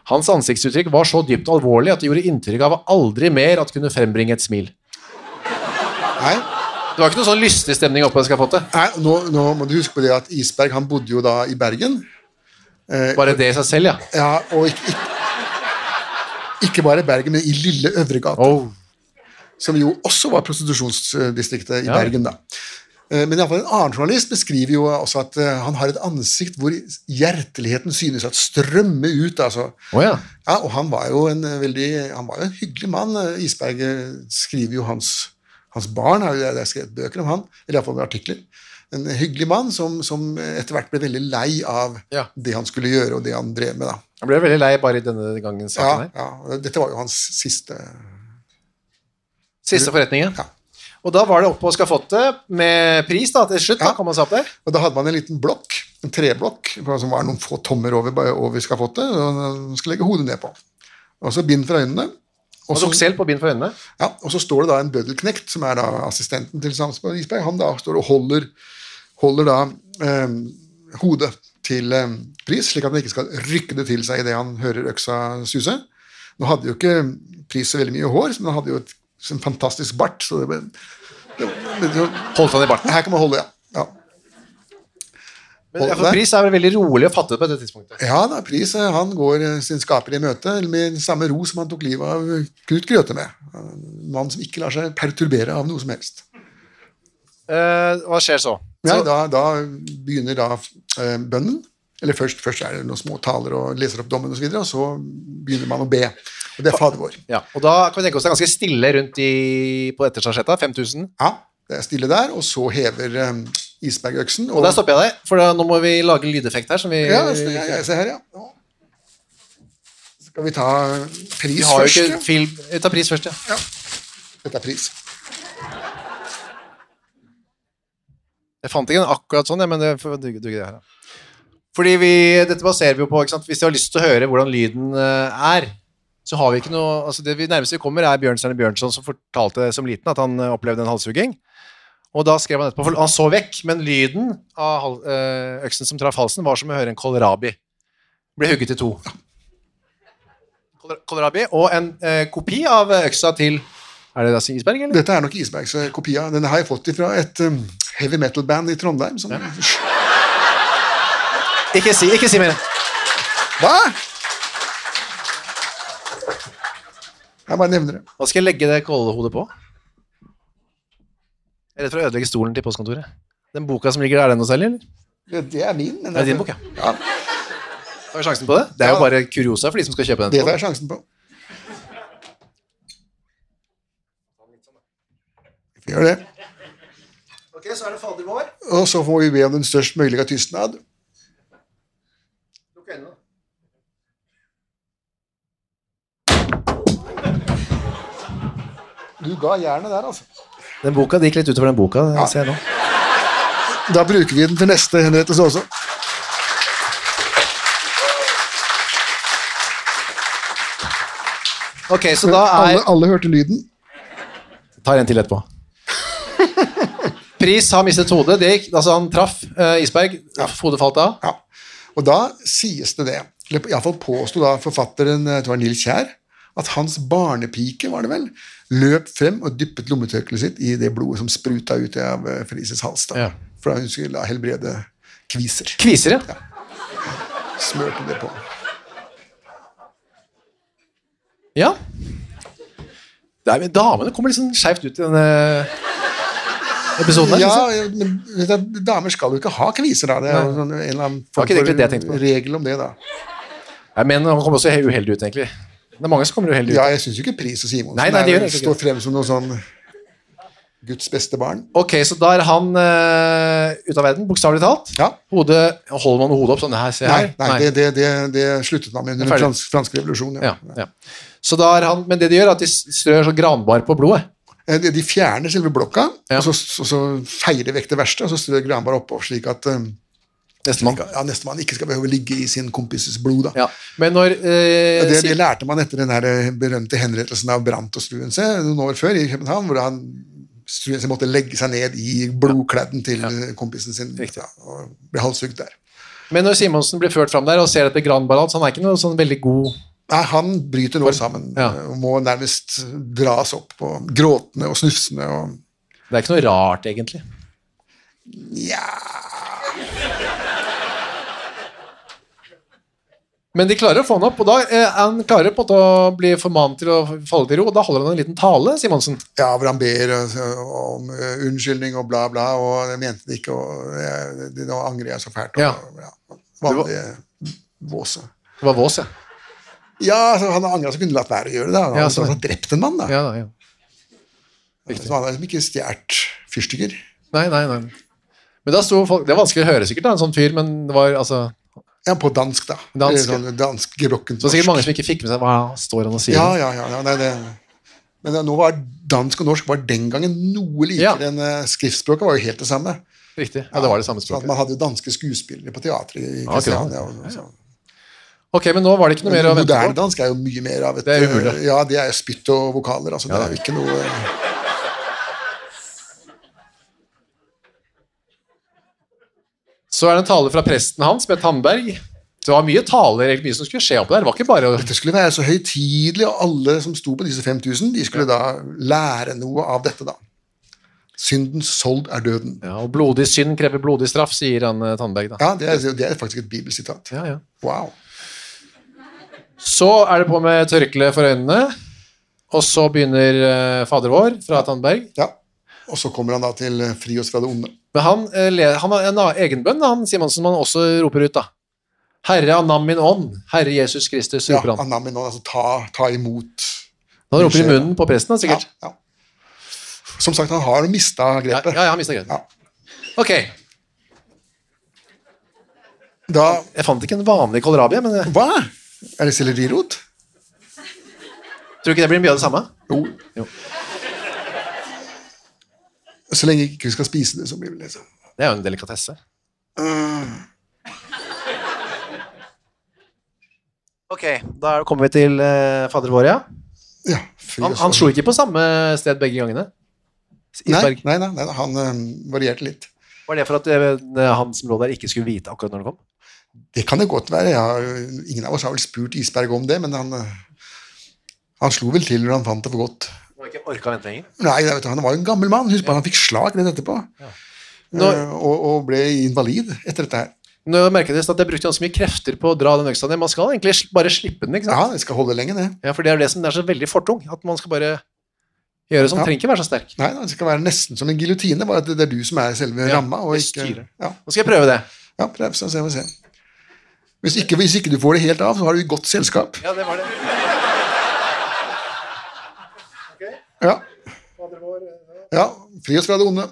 Speaker 2: Hans ansiktsuttrykk var så dypt alvorlig at det gjorde inntrykk av aldri mer at kunne frembringe et smil.
Speaker 3: Nei.
Speaker 2: Det var ikke noe sånn lystig stemning oppe på skafottet.
Speaker 3: Nei, nå, nå må du huske på det at Isberg han bodde jo da i Bergen.
Speaker 2: Bare det i seg selv, ja.
Speaker 3: Ja, og ikke, ikke, ikke bare i Bergen, men i Lille Øvregata,
Speaker 2: Oh.
Speaker 3: som jo også var prostitusjonsdistriktet i
Speaker 2: Ja.
Speaker 3: Bergen. da. Eh, Men i alle fall en annen journalist beskriver jo også at eh, han har et ansikt hvor hjerteligheten synes at strømmer ut. altså.
Speaker 2: Å Oh, ja.
Speaker 3: Ja, Og han var jo en eh, veldig, han var jo en hyggelig mann. eh, Isberg eh, skriver jo hans, hans barn, har jo- det er skrevet bøker om han, eller iallfall artikler. En hyggelig mann som, som etter hvert ble veldig lei av
Speaker 2: Ja.
Speaker 3: det han skulle gjøre, og det han drev med. da.
Speaker 2: Jeg ble veldig lei bare i denne gangen
Speaker 3: Ja,
Speaker 2: saken her.
Speaker 3: ja, og dette var jo hans siste
Speaker 2: Siste forretningen.
Speaker 3: Ja.
Speaker 2: Og da var det opp på skafottet med pris da, til slutt.
Speaker 3: Ja.
Speaker 2: da kom han seg opp der.
Speaker 3: Og da hadde man en liten blokk, en treblokk, som var noen få tommer over, over skafottet, og man skulle legge hodet ned på. Og så bind for øynene. Og
Speaker 2: Han
Speaker 3: så,
Speaker 2: tok selv på bind for øynene.
Speaker 3: ja, og så står det da en bøddelknekt, som er da assistenten til Samsberg Isberg, han da står og holder, holder da eh, hodet til eh, Pris, slik at han ikke skal rykke det til seg idet han hører øksa suse. Nå hadde jo ikke Pris så veldig mye hår, men han hadde jo et, en fantastisk bart, så det ble, det, det, det
Speaker 2: Holdt han i barten.
Speaker 3: Her kan man holde, ja. Ja,
Speaker 2: Men, ja,
Speaker 3: Nei.
Speaker 2: for pris er vel veldig rolig og fattet på dette tidspunktet.
Speaker 3: ja da, Pris eh, han går eh, sin skaper i møte med samme ro som han tok livet av eh, Knut Grøthe med. En mann som ikke lar seg perturbere av noe som helst.
Speaker 2: Eh, hva skjer så?
Speaker 3: Ja,
Speaker 2: så
Speaker 3: da, da begynner da eh, bønnen. Eller først, først er det noen små taler og leser opp dommen osv., og, så videre, og så begynner man å be. Og det er Fader vår.
Speaker 2: ja, og da kan vi tenke oss det er ganske stille rundt i, på etterstasjetta. 5000.
Speaker 3: Ja, det er stille der, og så hever eh, Isberg øksen.
Speaker 2: Og sånn- der stopper jeg deg, for da, nå må vi lage lydeffekt her. Som vi,
Speaker 3: Ja, se, ja, ja, se her, ja. Skal vi ta pris
Speaker 2: vi har jo
Speaker 3: først?
Speaker 2: ikke
Speaker 3: ja?
Speaker 2: film. Vi tar pris først, ja.
Speaker 3: Dette er pris.
Speaker 2: Jeg fant ikke den akkurat sånn, jeg, men det får duge, duge det her. da. Fordi vi, dette baserer vi jo på, ikke sant? hvis de har lyst til å høre hvordan lyden eh, er, så har vi ikke noe, altså det vi nærmest vi kommer er Bjørnstjerne Bjørnson som fortalte som liten at han eh, opplevde en halshugging. Og da skrev han etterpå, for han så vekk, men lyden av hal- eh, øksen som traff halsen var som å høre en kålrabi. Ble hugget i to. Kål- Kålrabi og en eh, kopi av eh, øksa til, er det da Sigisberg, eller?
Speaker 3: Dette er nok Isbergs eh, kopi av. Den har jeg fått fra et um, heavy metal-band i Trondheim. Som,
Speaker 2: Ikke si, ikke si mer.
Speaker 3: Hva?! Jeg bare nevner det.
Speaker 2: Hva skal jeg legge det kålehodet på? Jeg er redd for å ødelegge stolen til postkontoret. Den boka som ligger der, er den hos deg, eller?
Speaker 3: Ja, det er min. Men
Speaker 2: Det er din bok, ja. Har vi sjansen på det? Det er jo bare kuriosa for de som skal kjøpe den.
Speaker 3: Det tar jeg sjansen på. Vi gjør det.
Speaker 2: Ok, så er det Fader vår.
Speaker 3: Og så må vi be om den størst mulige tystnad.
Speaker 2: Lukk øynene.
Speaker 3: Du ga jernet der, altså.
Speaker 2: Den boka, det gikk litt utover den boka, det ser jeg nå.
Speaker 3: Da bruker vi den til neste henrettelse også.
Speaker 2: Ok, så da
Speaker 3: Alle,
Speaker 2: er...
Speaker 3: alle hørte lyden.
Speaker 2: Tar en til etterpå. Pris har mistet hodet. Det gikk, altså han traff eh, Isberg. Hodet falt av.
Speaker 3: Ja. Og da sies det det, eller iallfall påsto da forfatteren jeg tror det var Nils Kjær, at hans barnepike var det vel, løp frem og dyppet lommetørkleet sitt i det blodet som spruta ut av eh, Felices hals. da.
Speaker 2: Ja.
Speaker 3: For hun skulle la helbrede kviser.
Speaker 2: Kviser, ja.
Speaker 3: Smørte det på.
Speaker 2: ja. Det er, men damene kommer liksom skjevt ut i denne episoden. her, liksom.
Speaker 3: Ja, men vet du, damer skal jo ikke ha kviser, da. Det er jo sånn, en eller annen
Speaker 2: var ikke
Speaker 3: form
Speaker 2: egentlig det jeg tenkte på.
Speaker 3: regel om det, da.
Speaker 2: Nei, Men han kommer også helt uheldig ut, egentlig. Det er mange som kommer uheldig ut.
Speaker 3: Ja, jeg syns jo ikke Pris og Simonsen
Speaker 2: Nei, nei, det gjør jeg
Speaker 3: er-
Speaker 2: ikke.
Speaker 3: står frem som noe sånn Guds beste barn.
Speaker 2: Ok, så da er han eh, ute av verden, bokstavelig talt.
Speaker 3: Ja.
Speaker 2: Hodet, holder man hodet opp sånn her, se her?
Speaker 3: Nei, nei, Det, det, det, det sluttet man med under
Speaker 2: Det er
Speaker 3: den
Speaker 2: ferdig.
Speaker 3: fransk, franske revolusjonen.
Speaker 2: Ja, ja. Så da er han, men det de gjør, er at de strør sånn granbar på blodet.
Speaker 3: Eh, De, de fjerner selve blokka,
Speaker 2: Ja.
Speaker 3: og så, så, så feier de vekk det verste, og så strør Granberg oppå, slik at eh,
Speaker 2: Nestemann.
Speaker 3: ja, nestemann ikke skal behøve å ligge i sin kompises blod. da.
Speaker 2: Ja. Men når eh,
Speaker 3: Ja, Det,
Speaker 2: si-
Speaker 3: det lærte man etter den her eh, berømte henrettelsen av Brandt og Struense noen år før i København, hvor han Struense måtte legge seg ned i blodkledden til eh, kompisen sin ja, og ble halshugd der.
Speaker 2: Men når Simonsen blir ført fram der og ser etter granbar alt, så han er ikke noe sånn veldig god
Speaker 3: Nei, han bryter nå sammen
Speaker 2: ja.
Speaker 3: eh, og må nærmest dras opp på gråtende og snufsende og
Speaker 2: Det er ikke noe rart, egentlig.
Speaker 3: Nja
Speaker 2: Men de klarer å få han opp, og da eh, han klarer på en måte å bli formant til å falle til ro, og da holder han en liten tale, Simonsen.
Speaker 3: Ja, hvor han ber eh, om eh, unnskyldning og bla, bla, og jeg mente det ikke, og jeg, det- nå angrer jeg så fælt. Og,
Speaker 2: Ja.
Speaker 3: ja, vanlig våse.
Speaker 2: Det var Vås, ja.
Speaker 3: Ja, altså, han angra så kunne latt være å gjøre det. Han
Speaker 2: Ja,
Speaker 3: hadde
Speaker 2: sånn.
Speaker 3: altså drept en mann, da.
Speaker 2: ja, da, ja.
Speaker 3: Så han har liksom ikke stjålet fyrstikker.
Speaker 2: Nei, nei, nei. Men da sto folk, Det er vanskelig å høre, sikkert, da, en sånn fyr, men det var altså
Speaker 3: Ja, på dansk, da.
Speaker 2: Dansk,
Speaker 3: Eller sånn dansk gerokkent
Speaker 2: Det var sikkert mange som ikke fikk med seg hva står han og sier.
Speaker 3: Ja, ja, ja. ja nei, det, men det- nå var dansk og norsk var den gangen
Speaker 2: Ja.
Speaker 3: noe likere enn eh, skriftspråket. var jo helt det samme.
Speaker 2: Riktig. Ja, det var det samme
Speaker 3: Sånn at
Speaker 2: språket.
Speaker 3: man hadde jo danske skuespillere på teatret i
Speaker 2: akkurat.
Speaker 3: Kristiania. og- og sånn.
Speaker 2: Ok, men nå var det ikke noe mer å
Speaker 3: Men
Speaker 2: vente
Speaker 3: moderne
Speaker 2: på.
Speaker 3: dansk er jo mye mer av et
Speaker 2: Det er umulig.
Speaker 3: eh, Ja, det er jo spytt og vokaler. Altså, det er jo ikke noe
Speaker 2: Så er det en tale fra presten hans, Bent Handberg. Det var mye taler, egentlig, mye som skulle skje opp der. Det var ikke bare å
Speaker 3: Dette skulle være så høytidelig, og alle som sto på disse 5000, de skulle da lære noe av dette, da. Syndens sold er døden.
Speaker 2: ja, og blodig synd krever blodig straff, sier han eh, Tandberg. da.
Speaker 3: Ja, det er, det er faktisk et bibelsitat.
Speaker 2: Ja, ja.
Speaker 3: Wow.
Speaker 2: Så er det på med tørkle for øynene, og så begynner eh, Fader vår fra Tandberg.
Speaker 3: Ja. Og så kommer han da til eh, Fri oss fra det onde.
Speaker 2: Men han, eh, le- han har en annen egenbønn, han Simonsen, man også roper ut, da. Herre anam min ånd, Herre Jesus Kristus,
Speaker 3: Ja,
Speaker 2: roper han.
Speaker 3: Anamin, altså ta, ta imot.
Speaker 2: Han roper i munnen på presten, da,
Speaker 3: Ja,
Speaker 2: sikkert.
Speaker 3: ja. Som sagt, han har mista
Speaker 2: Ja,
Speaker 3: grepet.
Speaker 2: ja, jeg har mista
Speaker 3: Ja.
Speaker 2: grepet. Ok, jeg
Speaker 3: Da
Speaker 2: fant ikke en vanlig kålrabi, men eh, jeg
Speaker 3: Hva? Er det sellerirot?
Speaker 2: tror ikke det blir mye av det samme.
Speaker 3: Jo.
Speaker 2: Jo.
Speaker 3: Så lenge ikke vi skal spise det, så blir det liksom øh,
Speaker 2: Det er jo en delikatesse. Ok, da er- kommer vi til eh, fader vår, ja.
Speaker 3: Ja. Fri
Speaker 2: Han,
Speaker 3: oss
Speaker 2: han
Speaker 3: fra-
Speaker 2: slo ikke på samme sted begge gangene.
Speaker 3: Nei,
Speaker 2: Isberg.
Speaker 3: nei, nei, nei, han øhm, varierte litt.
Speaker 2: Var det for at eh, han som lå der, ikke skulle vite akkurat når det kom?
Speaker 3: Det kan det godt være. Jeg har, jo- ingen av oss har vel spurt Isberg om det, men han, øh, han slo vel til når han fant det for godt.
Speaker 2: Han har ikke orket å vente lenger.
Speaker 3: Nei, nei, vet du, Han var jo en gammel mann. Husk bare, han fikk slag rett etterpå.
Speaker 2: Nå-
Speaker 3: Øh, og, og ble invalid etter dette her.
Speaker 2: Nå merket jeg at jeg brukte ganske mye krefter på å dra den øksa ned. Man skal egentlig sl- bare slippe den, ikke sant?
Speaker 3: Ja, det skal holde lenge, det.
Speaker 2: Ja, for det er det som den er så veldig fortung, at man skal bare gjøre sånn.
Speaker 3: Ja.
Speaker 2: Trenger ikke være så sterk.
Speaker 3: Nei, Det skal være nesten som en giljotine, bare at det er du som er selve
Speaker 2: Ja,
Speaker 3: ramma. Og
Speaker 2: det
Speaker 3: ikke,
Speaker 2: styrer.
Speaker 3: ja,
Speaker 2: Nå skal jeg prøve det.
Speaker 3: ja, prøv, så ser vi se. Hvis ikke, hvis ikke du får det helt av, så har du godt selskap.
Speaker 2: Ja, det var det.
Speaker 3: Ja. ja. Fri oss fra det onde.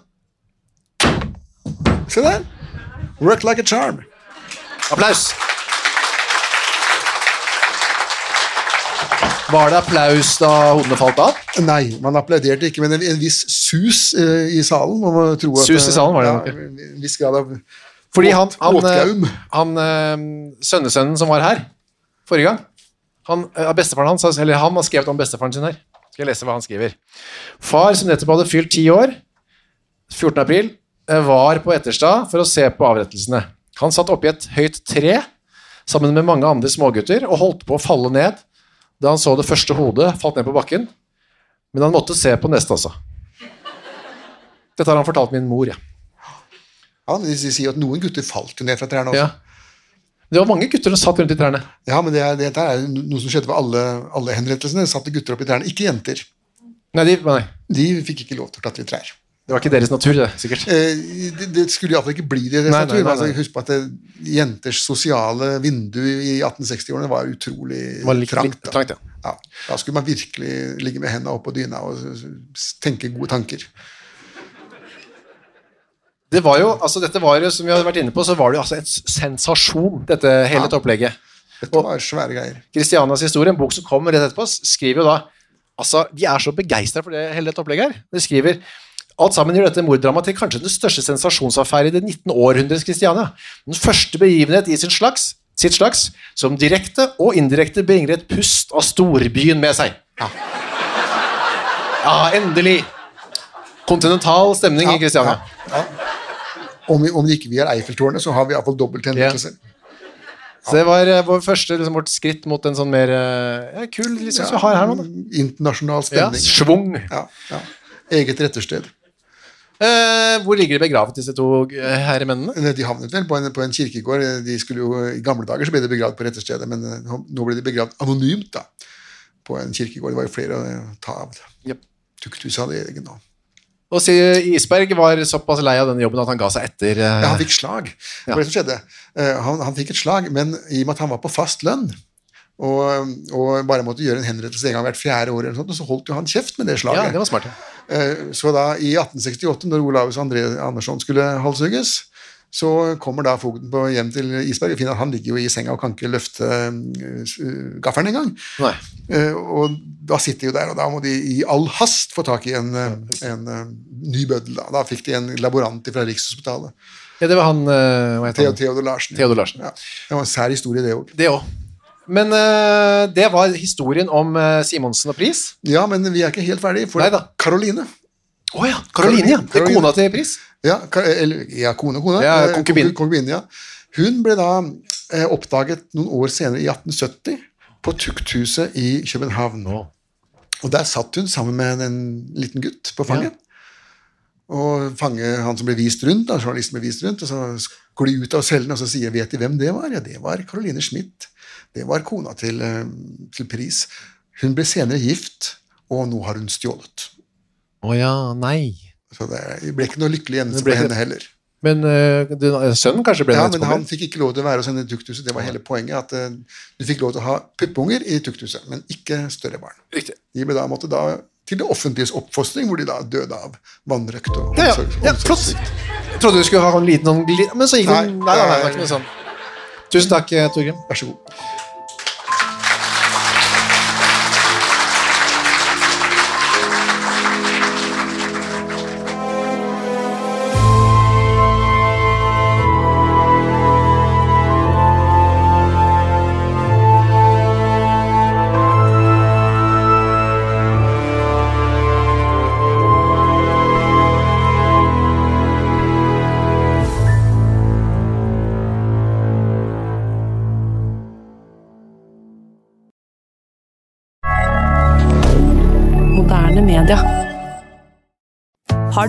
Speaker 3: Se der. Work like a charm.
Speaker 2: Applaus! Var det applaus da hodene falt av?
Speaker 3: Nei, man applauderte ikke, men en, en viss sus eh, i salen. Man må tro at,
Speaker 2: Sus i salen var det nok,
Speaker 3: Ja, en viss grad av
Speaker 2: Fordi han,
Speaker 3: Åt-
Speaker 2: han,
Speaker 3: åtgaum.
Speaker 2: eh, han eh, sønnesønnen som var her forrige gang han, eh, Bestefaren hans, har- eller han har skrevet om bestefaren sin her. Skal jeg lese hva han skriver. Far, som nettopp hadde fylt ti år, 14. april, eh, var på Etterstad for å se på avrettelsene. Han satt oppi et høyt tre sammen med mange andre smågutter og holdt på å falle ned da han så det første hodet falt ned på bakken. Men han måtte se på neste også. Dette har han fortalt min mor, ja.
Speaker 3: Ja, men de, de sier jo at noen gutter falt jo ned fra trærne også.
Speaker 2: ja.
Speaker 3: Ja,
Speaker 2: Det var mange gutter som satt rundt i trærne.
Speaker 3: men det, er- dette er jo no- noe som skjedde ved alle, alle henrettelsene. Satte gutter opp i trærne, ikke jenter.
Speaker 2: Nei, de, nei,
Speaker 3: De fikk ikke lov til å klatre i trær.
Speaker 2: det var ikke deres natur, det, sikkert.
Speaker 3: Eh, det, det skulle iallfall ikke bli det. det
Speaker 2: Nei,
Speaker 3: nei,
Speaker 2: nei, nei,
Speaker 3: Altså,
Speaker 2: nei.
Speaker 3: husk på at det, jenters sosiale vindu i 1860-årene var utrolig
Speaker 2: Det var litt,
Speaker 3: trangt.
Speaker 2: litt
Speaker 3: Da.
Speaker 2: trangt ja.
Speaker 3: Ja, da skulle man virkelig ligge med henda oppå dyna og s- s- tenke gode tanker.
Speaker 2: Det var jo, altså dette var jo, som vi hadde vært inne på, så var det jo altså en s- sensasjon, dette hele dette opplegget.
Speaker 3: Dette var svære greier.
Speaker 2: Kristianias historie, en bok som kom rett etterpå, s- skriver jo da, altså de er så begeistret for det hele dette opplegget her. De skriver, alt sammen gjør dette morddramaet til kanskje den største sensasjonsaffære i det 19. århundres Kristiania. Den første begivenhet i sin slags, sitt slags, som direkte og indirekte bringer et pust av storbyen med seg. Ja, ja endelig. Kontinental stemning i Kristiania.
Speaker 3: Ja, ja. Om, vi- om det ikke vi er Eiffeltårnet, så har vi iallfall dobbelt henrettelse.
Speaker 2: Så det var eh, vår første, liksom, vårt skritt mot en sånn mer eh, ja, kul liksom, som vi har her nå. Da.
Speaker 3: Internasjonal
Speaker 2: Ja,
Speaker 3: stemning.
Speaker 2: svung.
Speaker 3: Ja, ja. Eget rettersted.
Speaker 2: Eh, hvor ligger de begravet, disse to eh, herremennene?
Speaker 3: De havnet vel på en, på en kirkegård. De skulle jo, I gamle dager så ble de begravd på retterstedet, men eh, nå ble de begravd anonymt da, på en kirkegård. Det var jo flere å eh, ta av.
Speaker 2: Japp.
Speaker 3: Tukthus hadde egen nå.
Speaker 2: Og si, Isberg var såpass lei av denne jobben at han ga seg etter. eh,
Speaker 3: Ja, han fikk slag. Det var det som skjedde. Eh, Han, han fikk et slag, men i og med at han var på fast lønn og, og bare måtte gjøre en henrettelse en gang hvert fjerde år, eller noe sånt, så holdt jo han kjeft med det
Speaker 2: ja,
Speaker 3: slaget.
Speaker 2: det var smart. ja.
Speaker 3: Eh, Så da, i 1868, når Olavus André Andersson skulle halshugges, så kommer da fogden på hjem til Isberg og finner at han ligger jo i senga og kan ikke løfte eh, s- eh, gaffelen engang.
Speaker 2: Nei.
Speaker 3: Eh, Og da sitter de jo der, og da må de i all hast få tak i en, eh, en eh, ny bøddel. Da. da fikk de en laborant fra Rikshospitalet.
Speaker 2: Ja, det var han eh, hva heter
Speaker 3: Theo
Speaker 2: han?
Speaker 3: Theodor Larsen.
Speaker 2: Theodor Larsen.
Speaker 3: Ja. Det var en sær historie, det òg.
Speaker 2: Det òg. Men eh, det var historien om eh, Simonsen og Pris.
Speaker 3: Ja, men vi er ikke helt ferdige, for
Speaker 2: Neida.
Speaker 3: Karoline
Speaker 2: Å ja! Karoline, ja. Det er
Speaker 3: Caroline.
Speaker 2: kona til Pris.
Speaker 3: Ja, ka- eller, ja kone, kone.
Speaker 2: Ja,
Speaker 3: Eh,
Speaker 2: konkubine.
Speaker 3: konku- konkubine, ja. Hun ble da eh, oppdaget noen år senere, i 1870, på tukthuset i København. Og der satt hun sammen med en liten gutt på fanget. Og fange han som ble vist rundt, da, journalisten ble vist rundt, og så går de ut av cellen, og så sier vet de hvem det var? Ja, det var Caroline Schmidt. Det var kona til, eh, til Pris. Hun ble senere gift, og nå har hun stjålet.
Speaker 2: Å ja, nei.
Speaker 3: Så det ble ikke noe lykkelig
Speaker 2: Det
Speaker 3: endelse
Speaker 2: ble
Speaker 3: på
Speaker 2: ikke-
Speaker 3: henne heller.
Speaker 2: Men eh, den, sønnen kanskje ble
Speaker 3: Ja,
Speaker 2: den
Speaker 3: men han
Speaker 2: etterpå?
Speaker 3: fikk ikke lov til å være hos henne i tukthuset. Det var hele poenget. at eh, Du fikk lov til å ha puppunger i tukthuset, men ikke større barn.
Speaker 2: Riktig.
Speaker 3: De ble da, måtte da til det offentliges oppfostring, hvor de da døde av vannrøkt og
Speaker 2: Ja, ja.
Speaker 3: omsorgs-
Speaker 2: ja flott.
Speaker 3: omsorgssvikt.
Speaker 2: Jeg trodde du skulle ha en liten sånn gli- Men så gikk
Speaker 3: Nei,
Speaker 2: den Nei, nei, nei, det var ikke noe sånn. Tusen takk, eh, Torgrim.
Speaker 3: Vær så god.
Speaker 4: Moderne media.
Speaker 5: Har